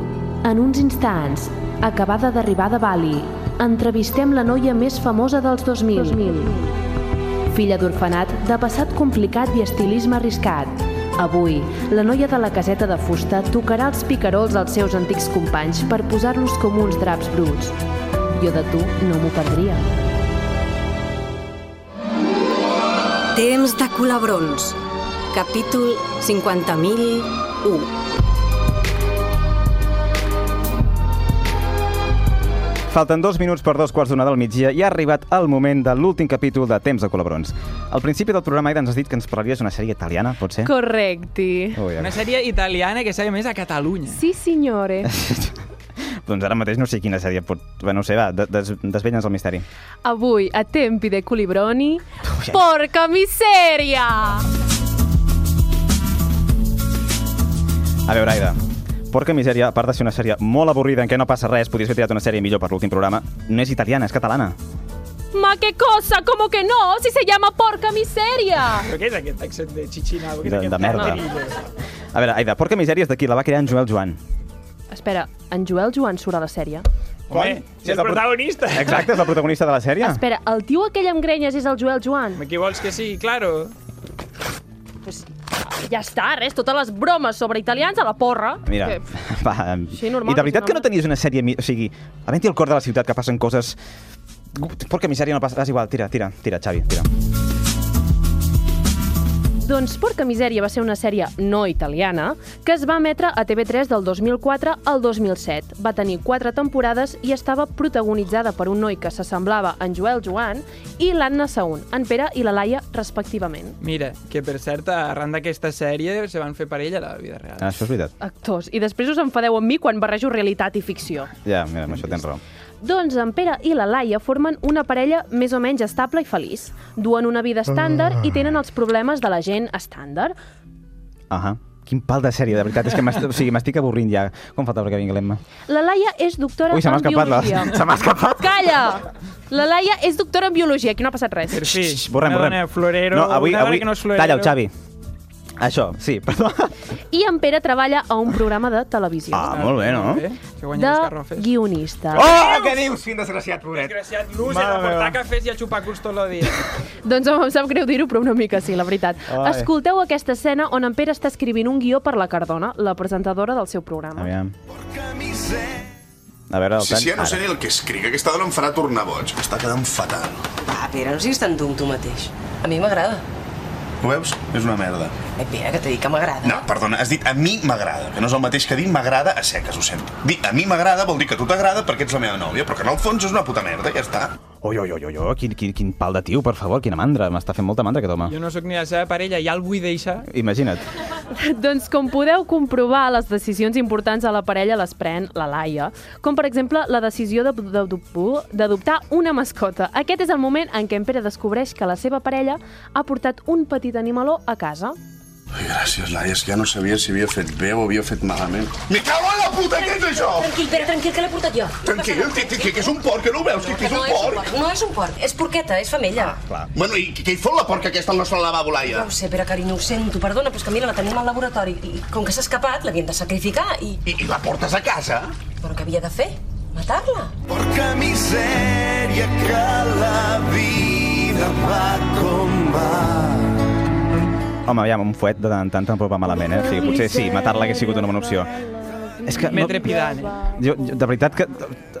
Speaker 3: En uns instants, acabada d'arribar de Bali, entrevistem la noia més famosa dels 2000. 2000. Filla d'orfenat, de passat complicat i estilisme arriscat. Avui, la noia de la caseta de fusta tocarà els picarols als seus antics companys per posar-los com uns draps bruts. Jo de tu no m'ho perdria.
Speaker 1: Temps de colabrons. Capítol 50.001.
Speaker 2: Falten dos minuts per dos quarts d'una del migdia i ha arribat el moment de l'últim capítol de Temps de Colabrons. Al principi del programa, Aida, ens has dit que ens parlaries d'una sèrie italiana, pot ser? Oh,
Speaker 3: Correcti.
Speaker 2: Ui, a
Speaker 4: Una
Speaker 2: veure.
Speaker 4: sèrie italiana que s'ha més a Catalunya.
Speaker 3: Sí, signore.
Speaker 2: doncs ara mateix no sé quina sèrie pot... Bé, no ho sé, va, de- des desvetlla'ns el misteri.
Speaker 3: Avui, a tempi de colibroni, porca misèria!
Speaker 2: A veure, Aida, Porca misèria, a part de ser una sèrie molt avorrida en què no passa res, podries haver triat una sèrie millor per l'últim programa, no és italiana, és catalana.
Speaker 22: Ma qué cosa, ¿cómo que no? Si se llama porca miseria.
Speaker 4: Però què és aquest accent de xixina? Què és
Speaker 2: De-
Speaker 4: aquest
Speaker 2: de merda.
Speaker 4: ladrillo?
Speaker 2: A veure, Aida, Porca misèria és d'aquí, la va crear en Joel Joan.
Speaker 3: Espera, en Joel Joan surt a la sèrie?
Speaker 2: Home,
Speaker 4: si és el protagonista.
Speaker 2: Exacte, és la protagonista de la sèrie.
Speaker 3: Espera, el tio aquell amb grenyes és el Joel Joan?
Speaker 4: Qui vols que sigui, claro.
Speaker 3: Ja està, res, totes les bromes sobre italians a la porra.
Speaker 2: Mira,
Speaker 3: Que-
Speaker 2: va.
Speaker 3: Sí, normal,
Speaker 2: I de veritat
Speaker 3: sí,
Speaker 2: que no
Speaker 3: normal.
Speaker 2: tenies una sèrie... mi- O sigui, havent-hi al cor de la ciutat que passen coses... Porca misèria no passa... És igual, tira, tira, tira, Xavi, tira.
Speaker 3: Doncs Porca Misèria va ser una sèrie no italiana que es va emetre a TV3 del 2004 al 2007. Va tenir quatre temporades i estava protagonitzada per un noi que s'assemblava a en Joel Joan i l'Anna Saún, en Pere i la Laia, respectivament.
Speaker 4: Mira, que per cert, arran d'aquesta sèrie se van fer parella a la vida real.
Speaker 2: Ah, Això és veritat.
Speaker 3: Actors. I després us enfadeu amb mi quan barrejo realitat i ficció.
Speaker 2: Ja, mira, amb això tens raó.
Speaker 3: Doncs en Pere i la Laia formen una parella més o menys estable i feliç. Duen una vida estàndard i tenen els problemes de la gent estàndard.
Speaker 2: Ahà. Quin pal de sèrie, de veritat. És que m'est- o sigui, m'estic avorrint ja. Com falta perquè vingui l'Emma?
Speaker 3: La Laia és doctora
Speaker 2: Ui, se m'ha
Speaker 3: en
Speaker 2: escapat. La...
Speaker 3: biologia.
Speaker 2: Se m'ha escapat.
Speaker 3: Calla! La Laia és doctora en biologia, aquí no ha passat res.
Speaker 2: Xx, borrem, borrem. Florero, no, avui,
Speaker 4: una dona
Speaker 2: avui...
Speaker 4: que no és florero.
Speaker 2: Calla, el Xavi. Això, sí, perdó.
Speaker 3: I en Pere treballa a un programa de televisió.
Speaker 2: Ah, molt bé, no?
Speaker 3: De guionista.
Speaker 2: Oh, què dius? Quin desgraciat, pobret.
Speaker 4: Desgraciat, l'ús és
Speaker 2: Mare
Speaker 4: reportar
Speaker 2: meva.
Speaker 4: cafès i a xupar cus tot el dia.
Speaker 3: Doncs home, em sap greu dir-ho, però una mica sí, la veritat.
Speaker 2: Ai.
Speaker 3: Escolteu aquesta escena on en Pere està escrivint un guió per la Cardona, la presentadora del seu programa.
Speaker 2: Aviam. A veure, el
Speaker 7: Si,
Speaker 2: tant.
Speaker 7: si ja no
Speaker 2: Ara.
Speaker 7: seré el que escric, aquesta dona em farà tornar boig. M'està quedant fatal.
Speaker 13: Ah, Pere, no siguis tan tum tu mateix. A mi m'agrada.
Speaker 7: Ho veus? És una merda.
Speaker 13: Eh, Pere, que t'he dit que m'agrada.
Speaker 7: No, perdona, has dit a mi m'agrada, que no és el mateix que dir m'agrada a seques, ho sento. Dir a mi m'agrada vol dir que a tu t'agrada perquè ets la meva nòvia, però que en el fons és una puta merda, ja està.
Speaker 2: Oi, oi, oi, oi, oi, quin, quin, quin pal de tio, per favor, quina mandra. M'està fent molta mandra aquest home.
Speaker 4: Jo no sóc ni la seva parella, ja el vull deixar.
Speaker 2: Imagina't.
Speaker 3: Doncs com podeu comprovar, les decisions importants a la parella les pren la Laia. Com, per exemple, la decisió de- de- de- d'adoptar una mascota. Aquest és el moment en què en Pere descobreix que la seva parella ha portat un petit animaló a casa.
Speaker 7: Ai, gràcies, Laia, és que ja no sabia si havia fet bé o havia fet malament. Me cago en la puta, què és això?
Speaker 8: Tranquil, Pere, tranquil, que l'he portat jo.
Speaker 7: Tranquil, que, que, que és un porc, que no ho veus, que, que és
Speaker 8: no
Speaker 7: un
Speaker 8: és un
Speaker 7: porc.
Speaker 8: porc, no és un porc, és porqueta, és femella. Ah,
Speaker 7: Clar. Bueno, i què hi fot la porca aquesta al nostre lavabo, Laia?
Speaker 1: Doncs-
Speaker 8: No ho sé, Pere, carinyo, ho sento, perdona, però és que mira, la tenim al laboratori i com que s'ha escapat, l'havíem de sacrificar i...
Speaker 7: I, I la portes a casa?
Speaker 8: Però què havia de fer? Matar-la?
Speaker 7: Porca misèria que la vida va com va.
Speaker 2: Home, aviam, un fuet de tant en tant tampoc va malament, eh? O sigui, potser sí, matar-la hagués sigut una bona opció. És que...
Speaker 4: M'he trepidant, eh?
Speaker 2: Jo, jo, de veritat que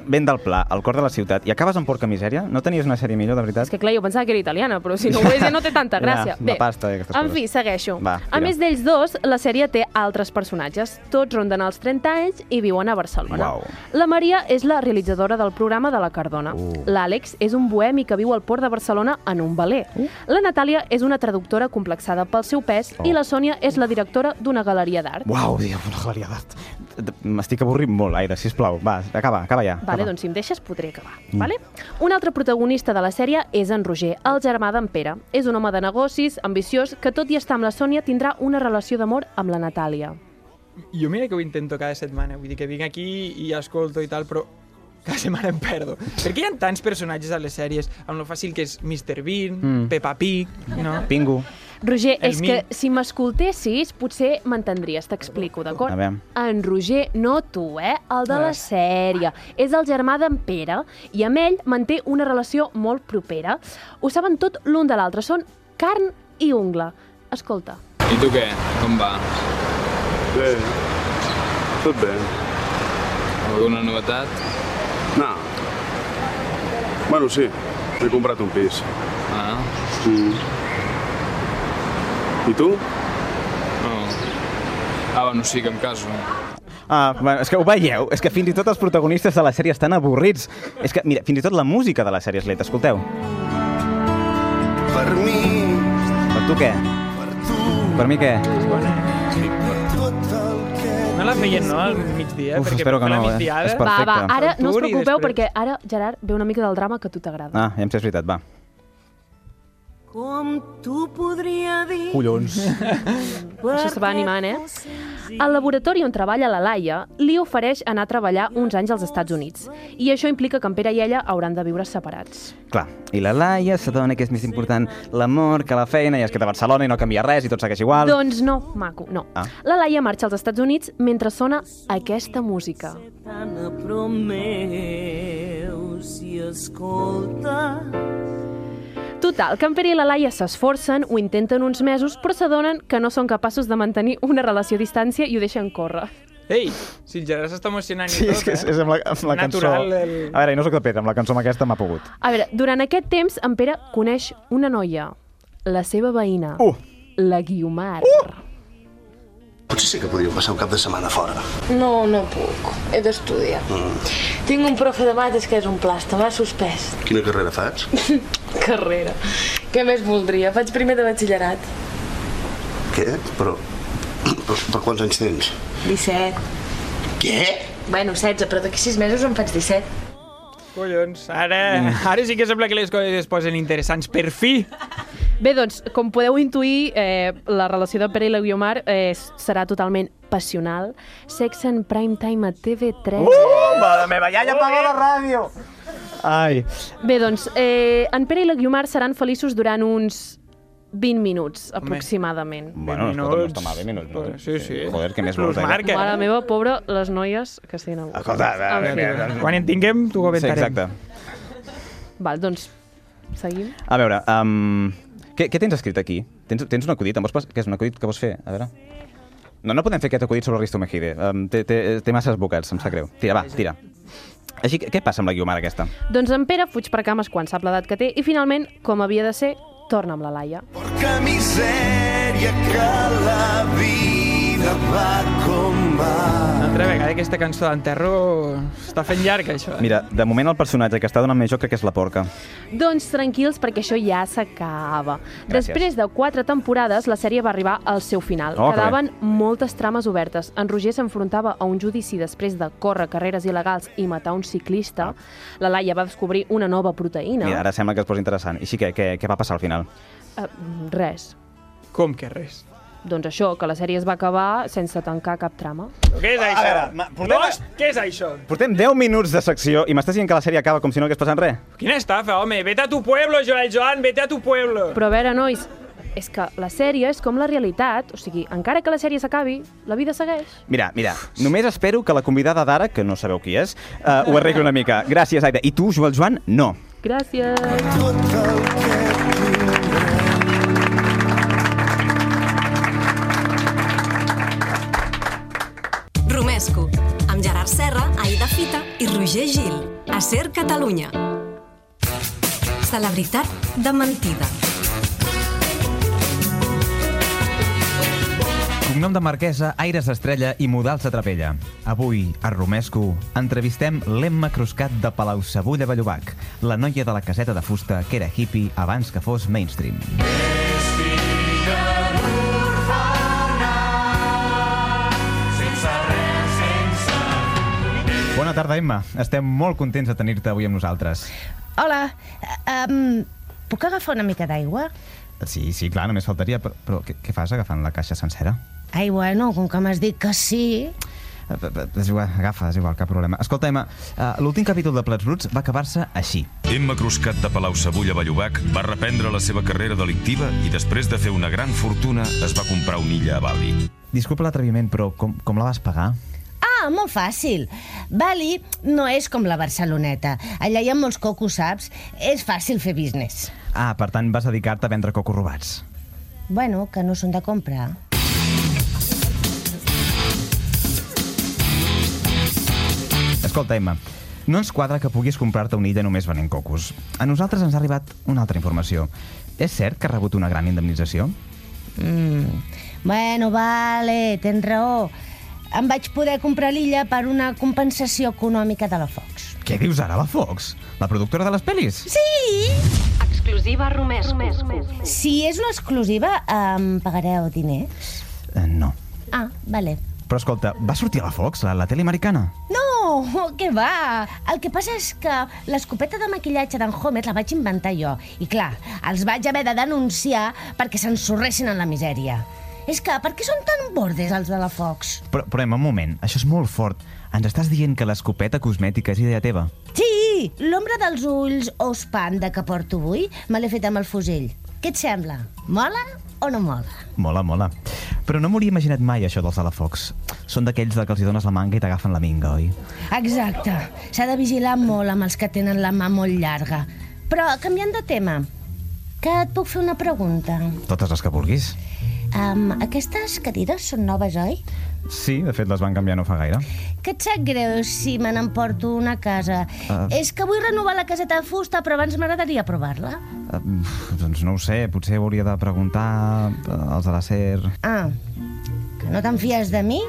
Speaker 2: ven del pla, al cor de la ciutat, i acabes amb porca misèria? No tenies una sèrie millor, de veritat?
Speaker 3: És que clar, jo pensava que era italiana, però si no ho és ja no té tanta gràcia.
Speaker 2: Ja, la pasta eh, i aquestes
Speaker 3: en
Speaker 2: coses.
Speaker 3: fi, segueixo.
Speaker 2: Va,
Speaker 3: a
Speaker 2: tira.
Speaker 3: més d'ells dos, la sèrie té altres personatges. Tots ronden els 30 anys i viuen a Barcelona.
Speaker 2: Uau.
Speaker 3: La Maria és la realitzadora del programa de la Cardona.
Speaker 2: Uh.
Speaker 3: L'Àlex és un bohemi que viu al port de Barcelona en un baler.
Speaker 2: Uh.
Speaker 3: La Natàlia és una traductora complexada pel seu pes
Speaker 2: Oh.
Speaker 3: i la Sònia és la directora d'una galeria d'art.
Speaker 2: Uau, Déu, una galeria d'art. D- M'estic avorrint molt, Aire, sisplau. Va, acaba, acaba ja.
Speaker 3: Vale,
Speaker 2: acaba.
Speaker 3: doncs si em deixes podré acabar.
Speaker 2: Mm.
Speaker 3: Vale? Un altre protagonista de la sèrie és en Roger, el germà d'en Pere. És un home de negocis, ambiciós, que tot i estar amb la Sònia tindrà una relació d'amor amb la Natàlia.
Speaker 4: Jo mira que ho intento cada setmana, vull dir que vinc aquí i escolto i tal, però cada setmana em perdo. Perquè hi ha tants personatges a les sèries, amb lo fàcil que és Mr. Bean,
Speaker 2: Mm.
Speaker 4: mm. Peppa Pig, no?
Speaker 2: Pingu.
Speaker 3: Roger,
Speaker 4: El
Speaker 3: és
Speaker 4: mi.
Speaker 3: que si m'escoltessis potser m'entendries, t'explico, d'acord?
Speaker 2: A veure.
Speaker 3: En Roger, no tu, eh? El de la sèrie. És el germà d'en Pere i amb ell manté una relació molt propera. Ho saben tot l'un de l'altre, són carn i ungla. Escolta.
Speaker 9: I tu què? Com va? Bé. Tot bé. Alguna novetat? No.
Speaker 7: Bueno, sí, he comprat un pis.
Speaker 9: Ah,
Speaker 7: Mm. I tu?
Speaker 9: no. Ah, bueno, sí que em caso.
Speaker 2: Ah, bueno, és que ho veieu? És que fins i tot els protagonistes de la sèrie estan avorrits. És que, mira, fins i tot la música de la sèrie és lenta. Escolteu.
Speaker 7: Per mi...
Speaker 2: Per tu què? Per mi què?
Speaker 4: No la feien, no?, al migdia?
Speaker 2: Uf,
Speaker 4: perquè
Speaker 2: espero que
Speaker 4: per la
Speaker 2: no, eh?
Speaker 4: migdiada-
Speaker 2: És perfecte.
Speaker 3: Va, va, ara no us
Speaker 4: Torturi
Speaker 3: preocupeu
Speaker 4: després.
Speaker 3: perquè ara, Gerard, ve una mica del drama que a tu t'agrada.
Speaker 2: Ah, ja em sé, és veritat, va.
Speaker 8: Com tu podria dir...
Speaker 2: Collons.
Speaker 3: Això se va animant, eh? Al laboratori on treballa la Laia, li ofereix anar a treballar uns anys als Estats Units. I això implica que en Pere i ella hauran de viure separats.
Speaker 2: Clar, i la Laia s'adona que és més important l'amor que la feina i es queda a Barcelona i no canvia res i tot segueix igual.
Speaker 3: Doncs no, maco, no.
Speaker 2: Ah.
Speaker 3: La Laia marxa als Estats Units mentre sona aquesta música.
Speaker 8: Tan a prop meu, si escolta...
Speaker 3: Total, que en Pere i la Laia s'esforcen, ho intenten uns mesos, però s'adonen que no són capaços de mantenir una relació a distància i ho deixen córrer.
Speaker 4: Ei, si el Gerard s'està emocionant
Speaker 2: Sí,
Speaker 4: i tot,
Speaker 2: és que és,
Speaker 4: eh?
Speaker 2: és amb la, amb la cançó...
Speaker 4: Natural, el...
Speaker 2: A veure, i no sóc el Pere, amb la cançó amb aquesta m'ha pogut.
Speaker 3: A veure, durant aquest temps, en Pere coneix una noia, la seva veïna,
Speaker 2: uh.
Speaker 3: la Guiomar. Uh.
Speaker 7: Potser sí que podríem passar un cap de setmana fora.
Speaker 24: No, no puc. He d'estudiar.
Speaker 7: Mm.
Speaker 24: Tinc un profe de mates que és un plasta, m'ha suspès.
Speaker 7: Quina carrera fas?
Speaker 24: Carrera. Què més voldria? Faig primer de batxillerat.
Speaker 7: Què? Però... Per, per quants anys tens?
Speaker 24: 17.
Speaker 7: Què?
Speaker 24: Bueno, 16, però d'aquí 6 mesos en faig 17.
Speaker 4: Collons, ara, ara sí que sembla que les coses es posen interessants, per fi!
Speaker 3: Bé, doncs, com podeu intuir, eh, la relació de Pere i la Guiomar eh, serà totalment passional. Sex en prime time a TV3.
Speaker 12: Uh,
Speaker 25: la meva iaia apaga la ràdio!
Speaker 12: Ai.
Speaker 3: Bé, doncs, eh, en Pere i la Guiomar seran feliços durant uns 20 minuts, aproximadament.
Speaker 12: Bueno, escolta, no està mal, 20 minuts. no?
Speaker 4: Sí, sí.
Speaker 12: Joder, que més
Speaker 4: Plus
Speaker 12: vols, eh?
Speaker 4: marca.
Speaker 3: Mare meva, pobra, les noies que estiguin avui.
Speaker 12: Escolta, eh, va,
Speaker 3: A
Speaker 12: va,
Speaker 3: veure.
Speaker 12: va, va.
Speaker 4: Quan en tinguem, t'ho comentarem.
Speaker 12: Sí, exacte.
Speaker 3: Val, doncs, seguim.
Speaker 12: A veure, um, què, què tens escrit aquí? Tens, tens un acudit? Em vols pas... Què és un acudit que vols fer? A veure... No, no podem fer aquest acudit sobre Risto Mejide. Um, té, té, té masses vocats, em sap greu. Tira, va, tira. Així, que- què passa amb la Guiomar aquesta?
Speaker 3: Doncs en Pere fuig per cames quan sap l'edat que té i, finalment, com havia de ser, torna amb la Laia.
Speaker 23: Que misèria que la vida va com va.
Speaker 4: Una altra vegada aquesta cançó d'enterro està fent llarg, això. eh?
Speaker 12: Mira, de moment el personatge que està donant més joc crec que és la porca.
Speaker 3: Doncs tranquils, perquè això ja s'acaba.
Speaker 12: Gràcies.
Speaker 3: Després de quatre temporades, la sèrie va arribar al seu final.
Speaker 12: Oh, que bé.
Speaker 3: Quedaven moltes trames obertes. En Roger s'enfrontava a un judici després de córrer carreres il·legals i matar un ciclista. La Laia va descobrir una nova proteïna.
Speaker 12: Mira, Ah. ara sembla que es posa interessant. Així que, què, què va passar al final?
Speaker 3: Eh, res.
Speaker 4: Com que res?
Speaker 3: Doncs això, que la sèrie es va acabar sense tancar cap trama.
Speaker 4: Què és això?
Speaker 12: veure,
Speaker 4: Lost, què és això?
Speaker 12: Portem 10 minuts de secció i m'estàs dient que la sèrie acaba com si no hagués passat res?
Speaker 4: Quina estafa, home. Vete a tu pueblo, Joel Joan, vete a tu pueblo.
Speaker 3: Però a veure, nois, és que la sèrie és com la realitat. O sigui, encara que la sèrie s'acabi, la vida segueix.
Speaker 12: Mira, mira, només espero que la convidada d'ara, que no sabeu qui és, eh, ho arregli una mica. Gràcies, Aida. I tu, Joel Joan, no.
Speaker 3: Gràcies.
Speaker 1: Romesco, amb Gerard Serra, Aida Fita i Roger Gil. A Ser Catalunya. Celebritat de mentida.
Speaker 2: Cognom de marquesa, aires d'estrella i modals de trapella. Avui, a Romesco, entrevistem l'Emma Cruscat de Palau Sabulla Bellobac, la noia de la caseta de fusta que era hippie abans que fos mainstream. Bona tarda, Emma. Estem molt contents de tenir-te avui amb nosaltres.
Speaker 10: Hola, eh, em, puc agafar una mica d'aigua?
Speaker 2: Sí, sí, clar, només faltaria, però, però què, què fas agafant la caixa sencera?
Speaker 10: Ai, bueno, com que m'has dit que sí...
Speaker 2: Eh, eh, És igual, agafa, és igual, cap problema. Escolta, Emma, eh, l'últim capítol de Plats Bruts va acabar-se així.
Speaker 11: Emma Cruscat de Palau Sabulla Ballobac va reprendre la seva carrera delictiva i després de fer una gran fortuna es va comprar una illa a Bali.
Speaker 2: Disculpa l'atreviment, però com, com la vas pagar?
Speaker 10: Ah, molt fàcil. Bali no és com la Barceloneta. Allà hi ha molts cocos, saps? És fàcil fer business.
Speaker 2: Ah, per tant, vas dedicar-te a vendre cocos robats.
Speaker 10: Bueno, que no són de compra.
Speaker 2: Escolta, Emma, no ens quadra que puguis comprar-te una illa només venent cocos. A nosaltres ens ha arribat una altra informació. És cert que ha rebut una gran indemnització?
Speaker 10: Mm. Bueno, vale, tens raó. Em vaig poder comprar l'illa per una compensació econòmica de la Fox.
Speaker 2: Què dius ara, la Fox? La productora de les pel·lis?
Speaker 10: Sí!
Speaker 1: Exclusiva Romesco.
Speaker 10: Si és una exclusiva, em pagareu diners?
Speaker 2: Eh, no.
Speaker 10: Ah, vale.
Speaker 2: Però escolta, va sortir a la Fox, la, la tele americana?
Speaker 10: No, que va! El que passa és que l'escopeta de maquillatge d'en Homer la vaig inventar jo. I clar, els vaig haver de denunciar perquè s'ensorressin en la misèria. És que, per què són tan bordes els de la Fox?
Speaker 2: Però, però Emma, un moment, això és molt fort. Ens estàs dient que l'escopeta cosmètica és idea teva?
Speaker 10: Sí, l'ombra dels ulls o panda que porto avui me l'he fet amb el fusell. Què et sembla? Mola o no mola?
Speaker 2: Mola, mola. Però no m'hauria imaginat mai això dels de la Fox. Són d'aquells de que els hi dones la manga i t'agafen la minga, oi?
Speaker 10: Exacte. S'ha de vigilar molt amb els que tenen la mà molt llarga. Però, canviant de tema, que et puc fer una pregunta.
Speaker 2: Totes les que vulguis.
Speaker 10: Um, aquestes cadires són noves, oi?
Speaker 2: Sí, de fet les van canviar no fa gaire.
Speaker 10: Que et sap greu si me n'emporto una a casa.
Speaker 2: Ah.
Speaker 10: Uh. És que vull renovar la caseta de fusta, però abans m'agradaria provar-la.
Speaker 2: Uh, doncs no ho sé, potser hauria de preguntar eh, als de la SER.
Speaker 10: Ah, que no te'n fies de mi?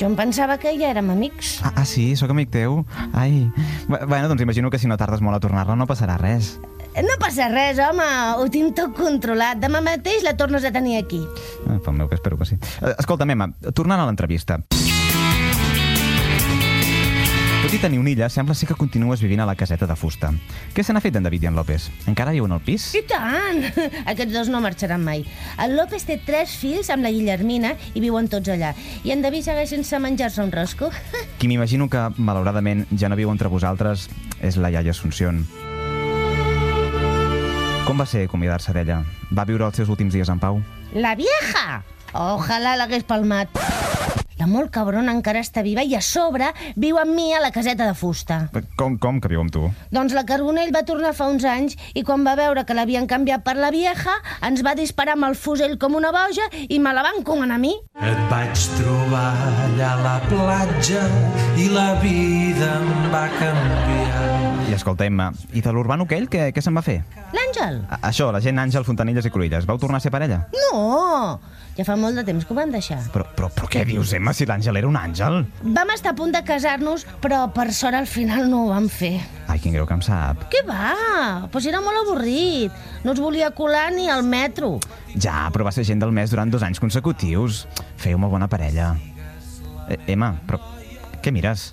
Speaker 10: Jo em pensava que ja érem amics.
Speaker 2: Ah, ah, sí? Sóc amic teu? Ai. Bé, bueno, doncs imagino que si no tardes molt a tornar-la no passarà res.
Speaker 10: Eh, No passa res, home, ho tinc tot controlat. Demà mateix la tornes a tenir aquí.
Speaker 2: Eh, Pel meu que espero que sí. Eh, Escolta, Emma, tornant a l'entrevista. Tot i tenir una illa, sembla ser que continues vivint a la caseta de fusta. Què se n'ha fet d'en David i en López? Encara viuen al pis?
Speaker 10: I tant! Aquests dos no marxaran mai. El López té tres fills amb la Guillermina i viuen tots allà. I en David segueix sense menjar-se un rosco.
Speaker 2: Qui m'imagino que, malauradament, ja no viu entre vosaltres és la iaia Assumpción. Com va ser convidar-se d'ella? Va viure els seus últims dies en pau?
Speaker 10: La vieja! Ojalà l'hagués palmat. La molt cabrona encara està viva i a sobre viu amb mi a la caseta de fusta.
Speaker 2: Com, com que viu amb tu?
Speaker 10: Doncs la Carbonell va tornar fa uns anys i quan va veure que l'havien canviat per la vieja, ens va disparar amb el fusell com una boja i me la van comanar a mi.
Speaker 23: Et vaig trobar allà a la platja i la vida em va canviar.
Speaker 2: I escolta, Emma, i de l'urbano aquell, què, què se'n va fer?
Speaker 10: L'Àngel?
Speaker 2: A- Això, la gent Àngel, Fontanilles i Cruïlles, vau tornar a ser parella?
Speaker 10: No! Ja fa molt de temps que ho van deixar.
Speaker 2: Però, però, però què dius, Emma, si l'Àngel era un àngel?
Speaker 10: Vam estar a punt de casar-nos, però per sort al final no ho vam fer.
Speaker 2: Ai, quin greu que em sap.
Speaker 10: Què va? Pues era molt avorrit. No es volia colar ni al metro.
Speaker 2: Ja, però va ser gent del mes durant dos anys consecutius. Feu molt bona parella. Eh, Emma, però què mires?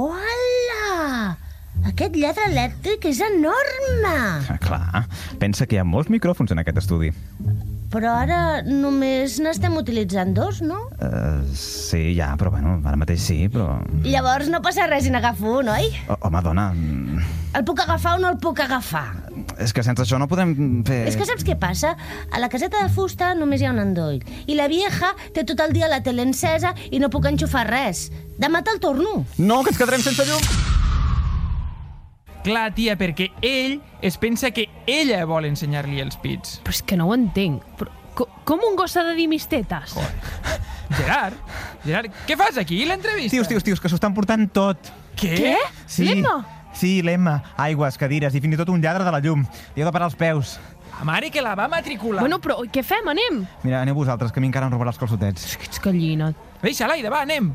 Speaker 10: Uala! Aquest lladre elèctric és enorme!
Speaker 2: Ah, clar, pensa que hi ha molts micròfons en aquest estudi.
Speaker 10: Però ara només n'estem utilitzant dos, no?
Speaker 2: Uh, sí, ja, però bueno, ara mateix sí, però...
Speaker 10: Llavors no passa res si n'agafo un, oi?
Speaker 2: Oh, home, dona, mm,
Speaker 10: El puc agafar o no el puc agafar?
Speaker 2: és que sense això no podem fer...
Speaker 10: És que saps què passa? A la caseta de fusta només hi ha un endoll. I la vieja té tot el dia la tele encesa i no puc enxufar res. Demà te'l torno.
Speaker 2: No, que ens quedarem sense llum!
Speaker 4: Clar, tia, perquè ell es pensa que ella vol ensenyar-li els pits.
Speaker 3: Però és que no ho entenc. Però, co com un gos ha de dir mis tetes?
Speaker 4: Gerard, Gerard, què fas aquí, l'entrevista?
Speaker 2: Tios, tios, tios, que s'ho estan portant tot.
Speaker 4: Què? Què?
Speaker 3: Eh?
Speaker 2: Sí.
Speaker 4: L'Emma?
Speaker 2: Sí, l'Emma. Aigües, cadires i fins i tot un lladre de la llum. Li heu de parar els peus.
Speaker 4: La mare que la va matricular.
Speaker 3: Bueno, però què fem? Anem?
Speaker 2: Mira, aneu vosaltres, que a mi encara em robarà els calçotets.
Speaker 3: Ets gallina.
Speaker 4: Deixa l'Aida, va, anem.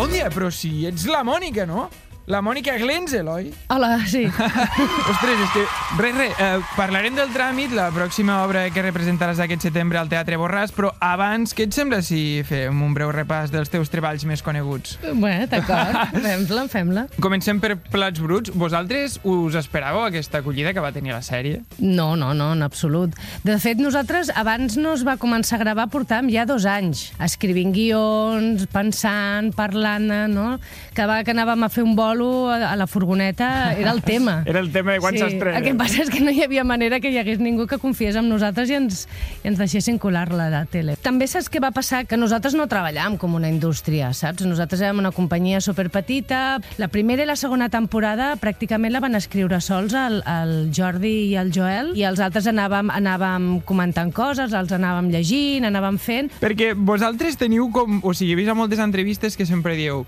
Speaker 4: Òndia, però si ets la Mònica, no? La Mònica Glenzel, oi?
Speaker 3: Hola, sí.
Speaker 4: Ostres, és que... Res, res, eh, parlarem del tràmit, la pròxima obra que representaràs aquest setembre al Teatre Borràs, però abans, què et sembla si fem un breu repàs dels teus treballs més coneguts?
Speaker 3: Bé, d'acord. Fem-la, fem-la.
Speaker 4: Comencem per Plats Bruts. Vosaltres us esperàveu aquesta acollida que va tenir la sèrie?
Speaker 12: No, no, no, en absolut. De fet, nosaltres abans no es va començar a gravar, portàvem ja dos anys, escrivint guions, pensant, parlant, eh, no? Cada vegada que anàvem a fer un bolo a a la furgoneta era el tema.
Speaker 4: Era el tema de quan s'estrena.
Speaker 12: El que passa és que no hi havia manera que hi hagués ningú que confiés en nosaltres i ens, i ens deixessin colar-la de tele. També saps què va passar? Que nosaltres no treballàvem com una indústria, saps? Nosaltres érem una companyia superpetita. La primera i la segona temporada pràcticament la van escriure sols el, el Jordi i el Joel i els altres anàvem, anàvem comentant coses, els anàvem llegint, anàvem fent.
Speaker 4: Perquè vosaltres teniu com... O sigui, he vist a moltes entrevistes que sempre dieu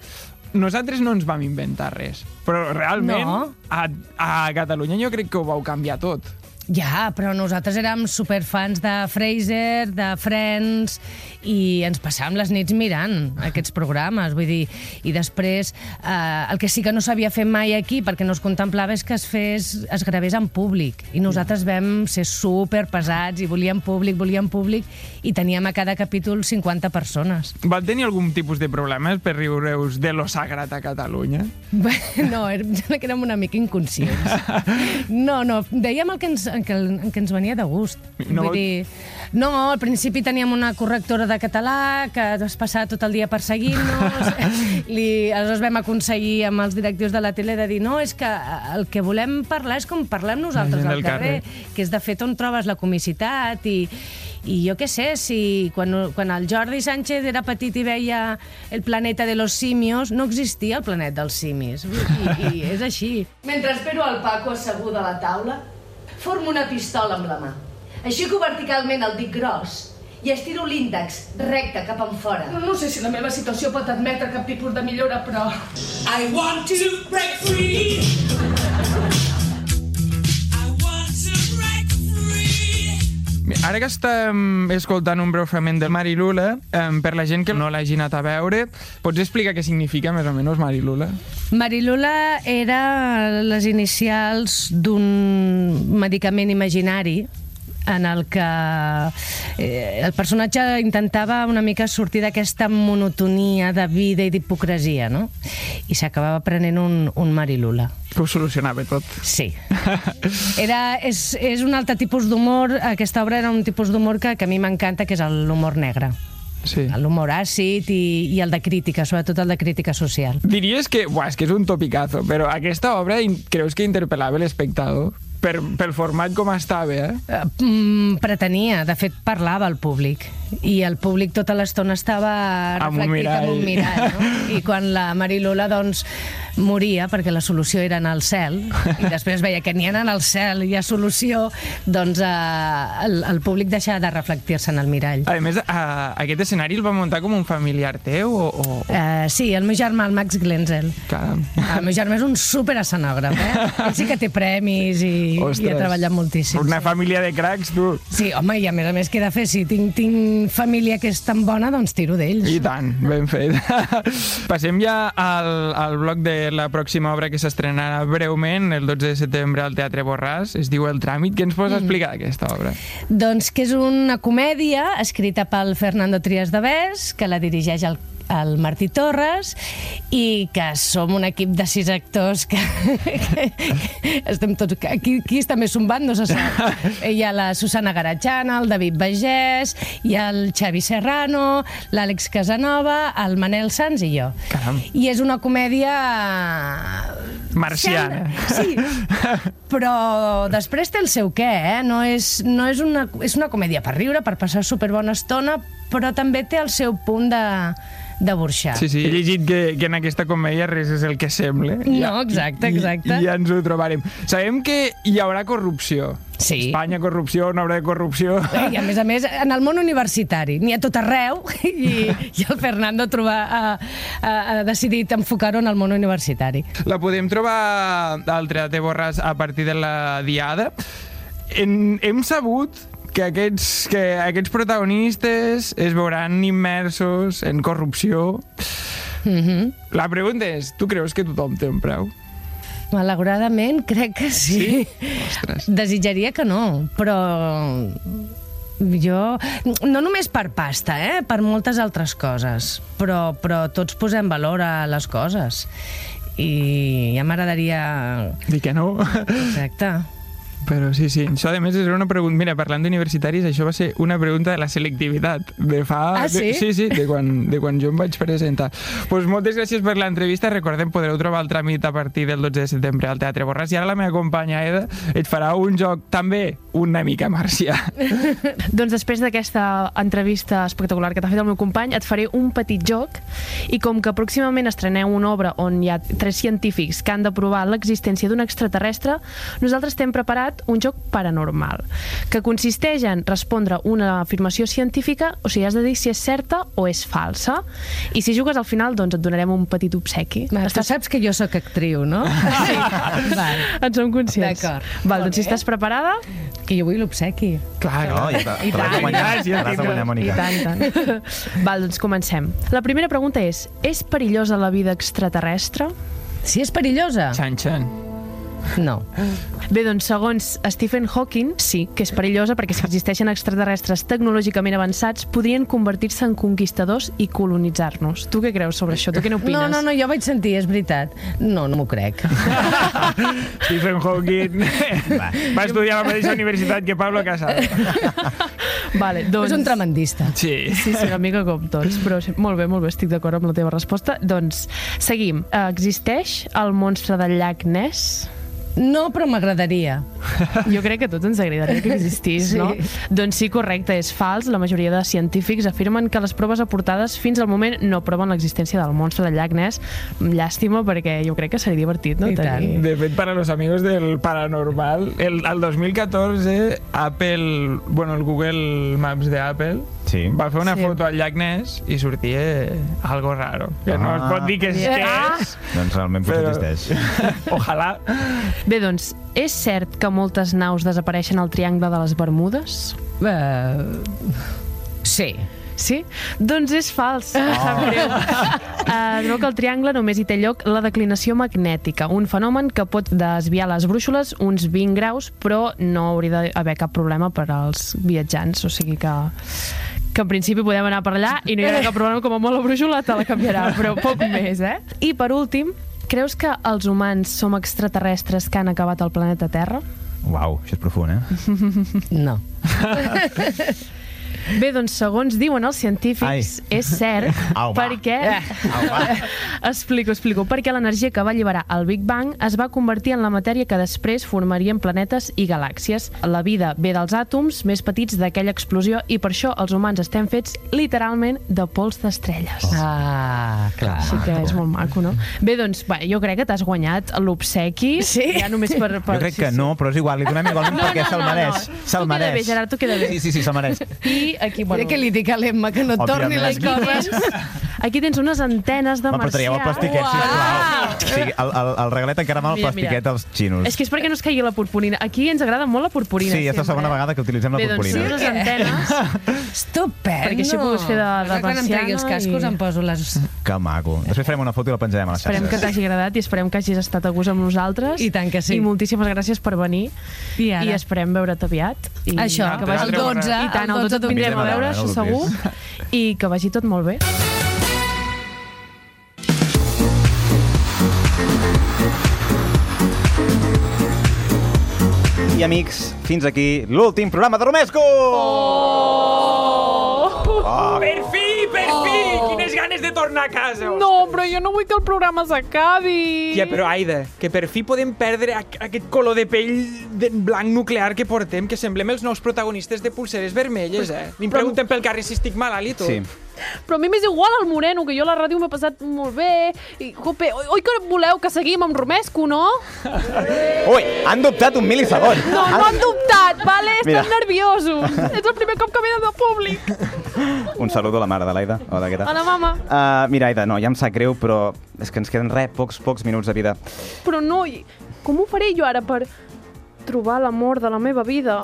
Speaker 4: nosaltres no ens vam inventar res, però realment
Speaker 12: No.
Speaker 4: a, a Catalunya jo crec que ho vau canviar tot.
Speaker 12: Ja, però nosaltres érem superfans de Fraser, de Friends, i ens passàvem les nits mirant aquests programes, vull dir, i després eh, el que sí que no s'havia fet mai aquí, perquè no es contemplava, és que es fes, es gravés en públic, i nosaltres vam ser superpesats, i volíem públic, volíem públic, i teníem a cada capítol 50 persones.
Speaker 4: Val tenir algun tipus de problemes per riureus de lo sagrat a Catalunya?
Speaker 12: Bé, No, érem, que érem una mica inconscients. No, no, dèiem el que ens, el que, el que ens venia de gust.
Speaker 4: No.
Speaker 12: No. Vull dir, no, al principi teníem una correctora de català que es passava tot el dia perseguint-nos. Li, aleshores vam aconseguir amb els directius de la tele de dir no, és que el que volem parlar és com parlem nosaltres
Speaker 4: gent
Speaker 12: al
Speaker 4: del
Speaker 12: carrer, que és de fet on trobes la comicitat i, i jo què sé, si quan, quan el Jordi Sánchez era petit i veia el planeta de los simios, no existia el planeta dels simis. I, i és així.
Speaker 26: Mentre espero el Paco assegut a la taula, formo una pistola amb la mà. Aixeco verticalment el dit gros i estiro l'índex recte cap enfora.
Speaker 27: No, no sé si la meva situació pot admetre cap tipus de millora, però... I want to break free!
Speaker 4: Ara que estem escoltant un breu fragment de Marilula, eh, per la gent que no l'hagi anat a veure, pots explicar què significa més o menys Marilula?
Speaker 12: Marilula era les inicials d'un medicament imaginari en el que eh, el personatge intentava una mica sortir d'aquesta monotonia de vida i d'hipocresia, no? I s'acabava prenent un, un Marilula.
Speaker 4: Que ho solucionava tot.
Speaker 12: Sí. Era, és, és un altre tipus d'humor, aquesta obra era un tipus d'humor que, que a mi m'encanta, que és el- l'humor negre.
Speaker 4: Sí.
Speaker 12: L'humor àcid i, i el de crítica, sobretot el de crítica social.
Speaker 4: Diries que, buah, és que és un topicazo, però aquesta obra in- creus que interpel·lava l'espectador? Per, pel format com estava, eh?
Speaker 12: Eh, mm, pretenia, de fet parlava al públic i el públic tota l'estona estava
Speaker 4: Amb un
Speaker 12: reflectit amb un
Speaker 4: mirall.
Speaker 12: mirall no? i quan la Marilola doncs moria perquè la solució era anar al cel i després veia que ni anar al cel hi ha solució doncs eh, el, el públic deixava de reflectir-se en el mirall
Speaker 4: A més, a, aquest escenari el va muntar com un familiar teu o... o...
Speaker 12: Uh, sí, el meu germà, el Max Glenzel.
Speaker 4: Caram.
Speaker 12: El meu germà és un super escenògraf, eh? Ell sí que té premis i, i ha treballat moltíssim.
Speaker 4: Una família de cracs, tu.
Speaker 12: Sí, home, i a més a més, què he de fer? Si tinc, tinc família que és tan bona, doncs tiro d'ells.
Speaker 4: I tant, ben fet. Passem ja al, al bloc de la pròxima obra que s'estrenarà breument, el 12 de setembre, al Teatre Borràs. Es diu El tràmit. Què ens pots
Speaker 12: Mm.
Speaker 4: explicar d'aquesta obra?
Speaker 12: Doncs que és una comèdia escrita pel Fernando Trias de Bes, que la dirigeix el el Martí Torres i que som un equip de sis actors que, que, que estem tots... que Aquí, aquí també sumbant, no se sap. Hi ha la Susana Garachana, el David Bagès, hi ha el Xavi Serrano, l'Àlex Casanova, el Manel Sanz i jo.
Speaker 4: Caram.
Speaker 12: I és una
Speaker 10: Ah,
Speaker 12: comèdia...
Speaker 4: Marciana.
Speaker 12: Sí, però després té el seu què, eh? No és, no és, una, és una comèdia per riure, per passar superbona estona, però també té el seu punt de, de burxar.
Speaker 4: Sí, sí, he llegit que, que en aquesta comèdia res és el que sembla.
Speaker 12: No, exacte, exacte.
Speaker 4: I, I ja ens ho trobarem. Sabem que hi haurà corrupció.
Speaker 12: Sí.
Speaker 4: Espanya, corrupció, una obra de corrupció.
Speaker 12: Eh, I a més a més, en el món universitari, n'hi ha tot arreu, i, i el Fernando trobar, ha, ha, ha decidit enfocar-ho en el món universitari.
Speaker 4: La podem trobar al Teatre Borràs a partir de la Diada. En, hem sabut que aquests, que aquests protagonistes es veuran immersos en corrupció.
Speaker 12: Mm -hmm.
Speaker 4: La pregunta és, tu creus que tothom té un preu?
Speaker 12: Malauradament, crec que sí. sí? Desitjaria que no, però jo... No només per pasta, eh? per moltes altres coses, però, però tots posem valor a les coses. I ja m'agradaria...
Speaker 4: Dir que no.
Speaker 12: Exacte.
Speaker 4: Però sí, sí. Això, a més, és una pregunta... Mira, parlant d'universitaris, això va ser una pregunta de la selectivitat. De fa...
Speaker 12: Ah, sí?
Speaker 4: De, sí, sí, de quan, de quan jo em vaig presentar. Doncs pues moltes gràcies per l'entrevista. Recordem, podreu trobar el tràmit a partir del 12 de setembre al Teatre Borràs. I ara la meva companya Eda et farà un joc també una mica marcià.
Speaker 3: doncs després d'aquesta entrevista espectacular que t'ha fet el meu company, et faré un petit joc i com que pròximament estreneu una obra on hi ha tres científics que han de provar l'existència d'un extraterrestre, nosaltres t'hem preparat un joc paranormal, que consisteix en respondre una afirmació científica, o sigui, has de dir si és certa o és falsa, i si jugues al final, doncs et donarem un petit obsequi.
Speaker 12: Va, tu saps que jo sóc actriu, no? Sí. Val.
Speaker 3: En som conscients.
Speaker 12: D'acord.
Speaker 3: Val, doncs si estàs preparada...
Speaker 12: Que jo vull l'obsequi.
Speaker 4: Clar,
Speaker 2: No, ja te- te l'has de guanyar, te l'has de guanyar, Mònica.
Speaker 3: I tant, i tant. Val, doncs comencem. La primera pregunta és, és perillosa la vida extraterrestre?
Speaker 12: Si és perillosa?
Speaker 4: Xan, xan.
Speaker 12: No.
Speaker 3: Bé, doncs, segons Stephen Hawking, sí que és perillosa perquè si existeixen extraterrestres tecnològicament avançats podrien convertir-se en conquistadors i colonitzar-nos. Tu què creus sobre això? Tu què n'opines?
Speaker 12: No, no, no, jo vaig sentir, és veritat. No, no m'ho crec.
Speaker 4: Stephen Hawking va, va estudiar a la mateixa universitat que Pablo Casado.
Speaker 3: Vale, doncs...
Speaker 12: És un tremendista.
Speaker 4: Sí.
Speaker 3: Sí, sí, una mica com tots, però sí, molt bé, molt bé, estic d'acord amb la teva resposta. Doncs, seguim. Eh, Existeix el monstre del llac Ness?
Speaker 12: No, però m'agradaria.
Speaker 3: Jo crec que a tots ens agradaria que existís,
Speaker 12: Sí.
Speaker 3: no? Doncs sí, correcte, és fals. La majoria de científics afirmen que les proves aportades fins al moment no proven l'existència del monstre del llac Ness. Llàstima, perquè jo crec que seria divertit, no? Tenir-
Speaker 4: De fet, para los amigos del paranormal, el, al 2014 Apple, bueno, el Google Maps de Apple sí. va fer una sí. foto al llac Ness i sortia algo raro. Que ah. no es pot dir que és, que és
Speaker 2: Doncs realment potser existeix.
Speaker 4: Ojalà.
Speaker 3: Bé, doncs, és cert que moltes naus desapareixen al Triangle de les Bermudes?
Speaker 12: Uh, sí.
Speaker 3: Sí? Doncs és fals. Oh. Sap greu. Uh, es veu que al triangle només hi té lloc la declinació magnètica, un fenomen que pot desviar les brúixoles uns 20 graus, però no hauria d'haver cap problema per als viatjants, o sigui que que en principi podem anar per allà i no hi haurà cap problema, com a molt la brúixola te la canviarà, però poc més, eh? I per últim, creus que els humans som extraterrestres que han acabat el planeta Terra?
Speaker 28: Uau, això és profund, eh?
Speaker 12: No.
Speaker 3: Bé, doncs, segons diuen els científics, Ai. és cert,
Speaker 28: Au, va. Eh.
Speaker 3: perquè... explico, explico. Perquè l'energia que va alliberar el Big Bang es va convertir en la matèria que després formarien planetes i galàxies. La vida ve dels àtoms més petits d'aquella explosió i per això els humans estem fets literalment de pols d'estrelles.
Speaker 12: Ah, clar.
Speaker 3: Així que és molt maco, no? Bé, doncs, va, jo crec que t'has guanyat l'obsequi. Sí. Ja només per... per
Speaker 28: Jo crec que no, però és igual, li donem igualment
Speaker 3: No,
Speaker 28: perquè
Speaker 3: no,
Speaker 28: se'l
Speaker 3: no, no.
Speaker 28: mereix.
Speaker 3: Tu
Speaker 28: Se'l
Speaker 3: queda
Speaker 28: mereix.
Speaker 3: bé, Gerard, tu queda bé.
Speaker 28: Sí, sí, sí, se'l mereix.
Speaker 3: I aquí, bueno...
Speaker 12: Mira que li dic a l'Emma que no et torni
Speaker 28: Òbviament.
Speaker 12: les coses.
Speaker 3: Aquí tens unes antenes de
Speaker 28: Va, però traieu el eh, plastiquet, sisplau. Sí, el, el, el regalet encara mal el
Speaker 3: Mira, mira.
Speaker 28: plastiquet als
Speaker 3: És
Speaker 28: xinos.
Speaker 3: que és perquè no es caigui la purpurina. Aquí ens agrada molt la purpurina.
Speaker 28: Sí, és la segona vegada que utilitzem la
Speaker 3: Bé, doncs sí,
Speaker 28: purpurina.
Speaker 3: les antenes.
Speaker 12: Estupendo.
Speaker 3: Perquè així puguis fer de- de
Speaker 12: Ara quan em tregui els
Speaker 3: persiana
Speaker 12: cascos
Speaker 3: i-
Speaker 12: em poso les...
Speaker 28: Que maco. Després farem una foto i la penjarem a les
Speaker 3: Esperem que
Speaker 28: xarxes.
Speaker 3: t'hagi agradat i esperem que hagis estat a gust amb nosaltres.
Speaker 12: I tant que sí.
Speaker 3: I moltíssimes gràcies per venir.
Speaker 12: I ara?
Speaker 3: I esperem veure't aviat. I
Speaker 12: Això,
Speaker 3: que vagi
Speaker 12: el
Speaker 3: tot-
Speaker 12: 12,
Speaker 3: I tant,
Speaker 12: el
Speaker 3: el 12
Speaker 12: 12
Speaker 3: et vindrem a
Speaker 28: d'octubre.
Speaker 3: veure, això
Speaker 28: Vindrem a veure, no
Speaker 3: segur.
Speaker 28: ho
Speaker 3: I que vagi tot molt bé.
Speaker 2: I amics, fins aquí l'últim programa de Romesco! Oh! oh!
Speaker 29: Per fi, per fi!
Speaker 4: Oh.
Speaker 29: Quines ganes de tornar a casa!
Speaker 14: No, però jo no vull que el programa s'acabi.
Speaker 4: Tia, però Aida, que per fi podem perdre aqu- aquest color de pell de blanc nuclear que portem, que semblem els nous protagonistes de Pulseres Vermelles, eh? Li pregunten pel carrer si estic malalt i tot.
Speaker 2: Sí.
Speaker 14: Però a mi m'és igual el Moreno, que jo a la ràdio m'he passat molt bé. I, jope, oi, oi que voleu que seguim amb Romesco, no?
Speaker 2: Ui, han dubtat un mil·lisegon.
Speaker 14: No, no han dubtat, vale? Estan
Speaker 2: Mira.
Speaker 14: nerviosos. És el primer cop que venen de públic.
Speaker 2: Un saludo a la mare d'Alaida. Hola, què tal?
Speaker 14: Hola, mama.
Speaker 2: Uh, mira, Aida, no, ja em sap greu, però és que ens queden res, pocs, pocs minuts de vida.
Speaker 14: Però no, i com ho faré jo ara per trobar l'amor de la meva vida?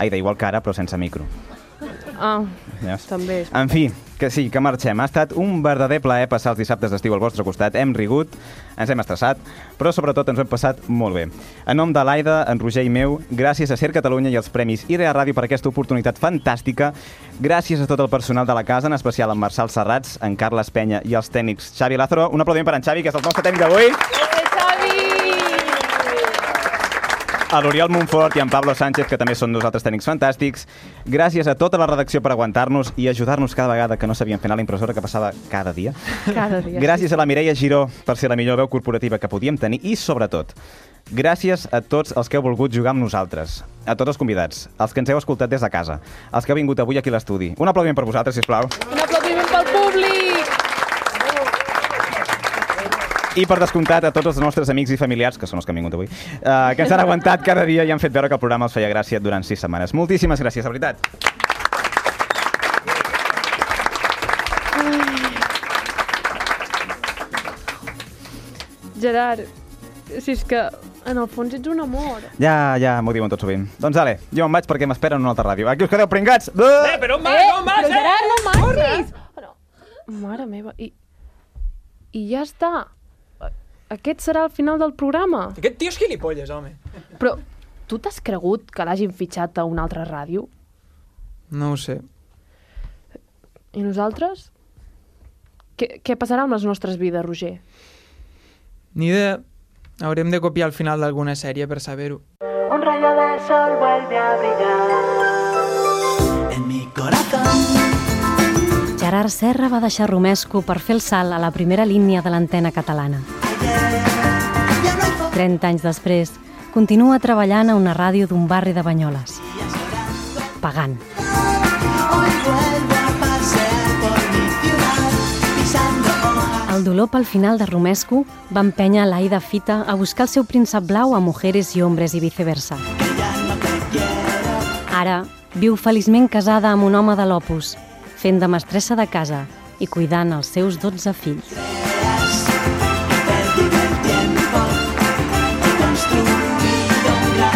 Speaker 2: Aida, igual que ara, però sense micro.
Speaker 14: Ah,
Speaker 2: Ja.
Speaker 14: també.
Speaker 2: En fi, que sí, que marxem. Ha estat un verdader plaer passar els dissabtes d'estiu al vostre costat. Hem rigut, ens hem estressat, però sobretot ens ho hem passat molt bé. En nom de l'Aida, en Roger i meu, gràcies a Ser Catalunya i els Premis Idea Ràdio per aquesta oportunitat fantàstica. Gràcies a tot el personal de la casa, en especial en Marçal Serrats, en Carles Penya i els tècnics Xavi Lázaro. Un aplaudiment per en Xavi, que és el nostre tècnic d'avui. a l'Oriol Montfort i en Pablo Sánchez, que també són dos altres tècnics fantàstics. Gràcies a tota la redacció per aguantar-nos i ajudar-nos cada vegada que no sabíem fer anar a la impressora, que passava cada dia.
Speaker 14: Cada dia.
Speaker 2: Gràcies a la Mireia Giró per ser la millor veu corporativa que podíem tenir i, sobretot, gràcies a tots els que heu volgut jugar amb nosaltres, a tots els convidats, els que ens heu escoltat des de casa, els que heu vingut avui aquí a l'estudi. Un aplaudiment per vosaltres, sisplau.
Speaker 14: Un aplaudiment pel públic!
Speaker 2: I per descomptat a tots els nostres amics i familiars, que són els que han vingut avui, eh, que ens han aguantat cada dia i han fet veure que el programa els feia gràcia durant sis setmanes. Moltíssimes gràcies, de veritat.
Speaker 14: Gerard, si és que en el fons ets un amor.
Speaker 2: Ja, ja, m'ho diuen tot sovint. Doncs ale, jo me'n vaig perquè m'esperen una altra ràdio. Aquí us quedeu pringats!
Speaker 4: Eh, però on vas, on vas,
Speaker 14: però
Speaker 4: eh?
Speaker 14: Gerard, no marxis! No. Mare meva, i, i ja està. Aquest serà el final del programa.
Speaker 4: Aquest tio és gilipolles, home.
Speaker 14: Però tu t'has cregut que l'hagin fitxat a una altra ràdio?
Speaker 4: No ho sé.
Speaker 14: I nosaltres? Què, què passarà amb les nostres vides, Roger?
Speaker 4: Ni idea. Haurem de copiar al final d'alguna sèrie per saber-ho.
Speaker 23: Un rayo del sol vuelve a brillar en mi corazón.
Speaker 1: Gerard Serra va deixar Romesco per fer el salt a la primera línia de l'antena catalana. 30 anys després, continua treballant a una ràdio d'un barri de Banyoles. Pagant.
Speaker 23: Hoy vuelvo a pasear por mi ciudad pisando hojas.
Speaker 1: El dolor pel final de Romesco va empènyer l'Aida Fita a buscar el seu príncep blau a Mujeres i Hombres i viceversa. Ara viu feliçment casada amb un home de l'Opus, fent de mestressa de casa i cuidant els seus 12 fills.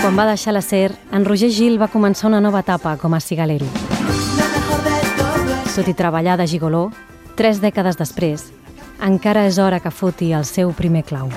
Speaker 1: Quan va deixar la SER, en Roger Gil va començar una nova etapa com a cigalero. Tot i treballar de gigoló, tres dècades després, encara és hora que foti el seu primer clau.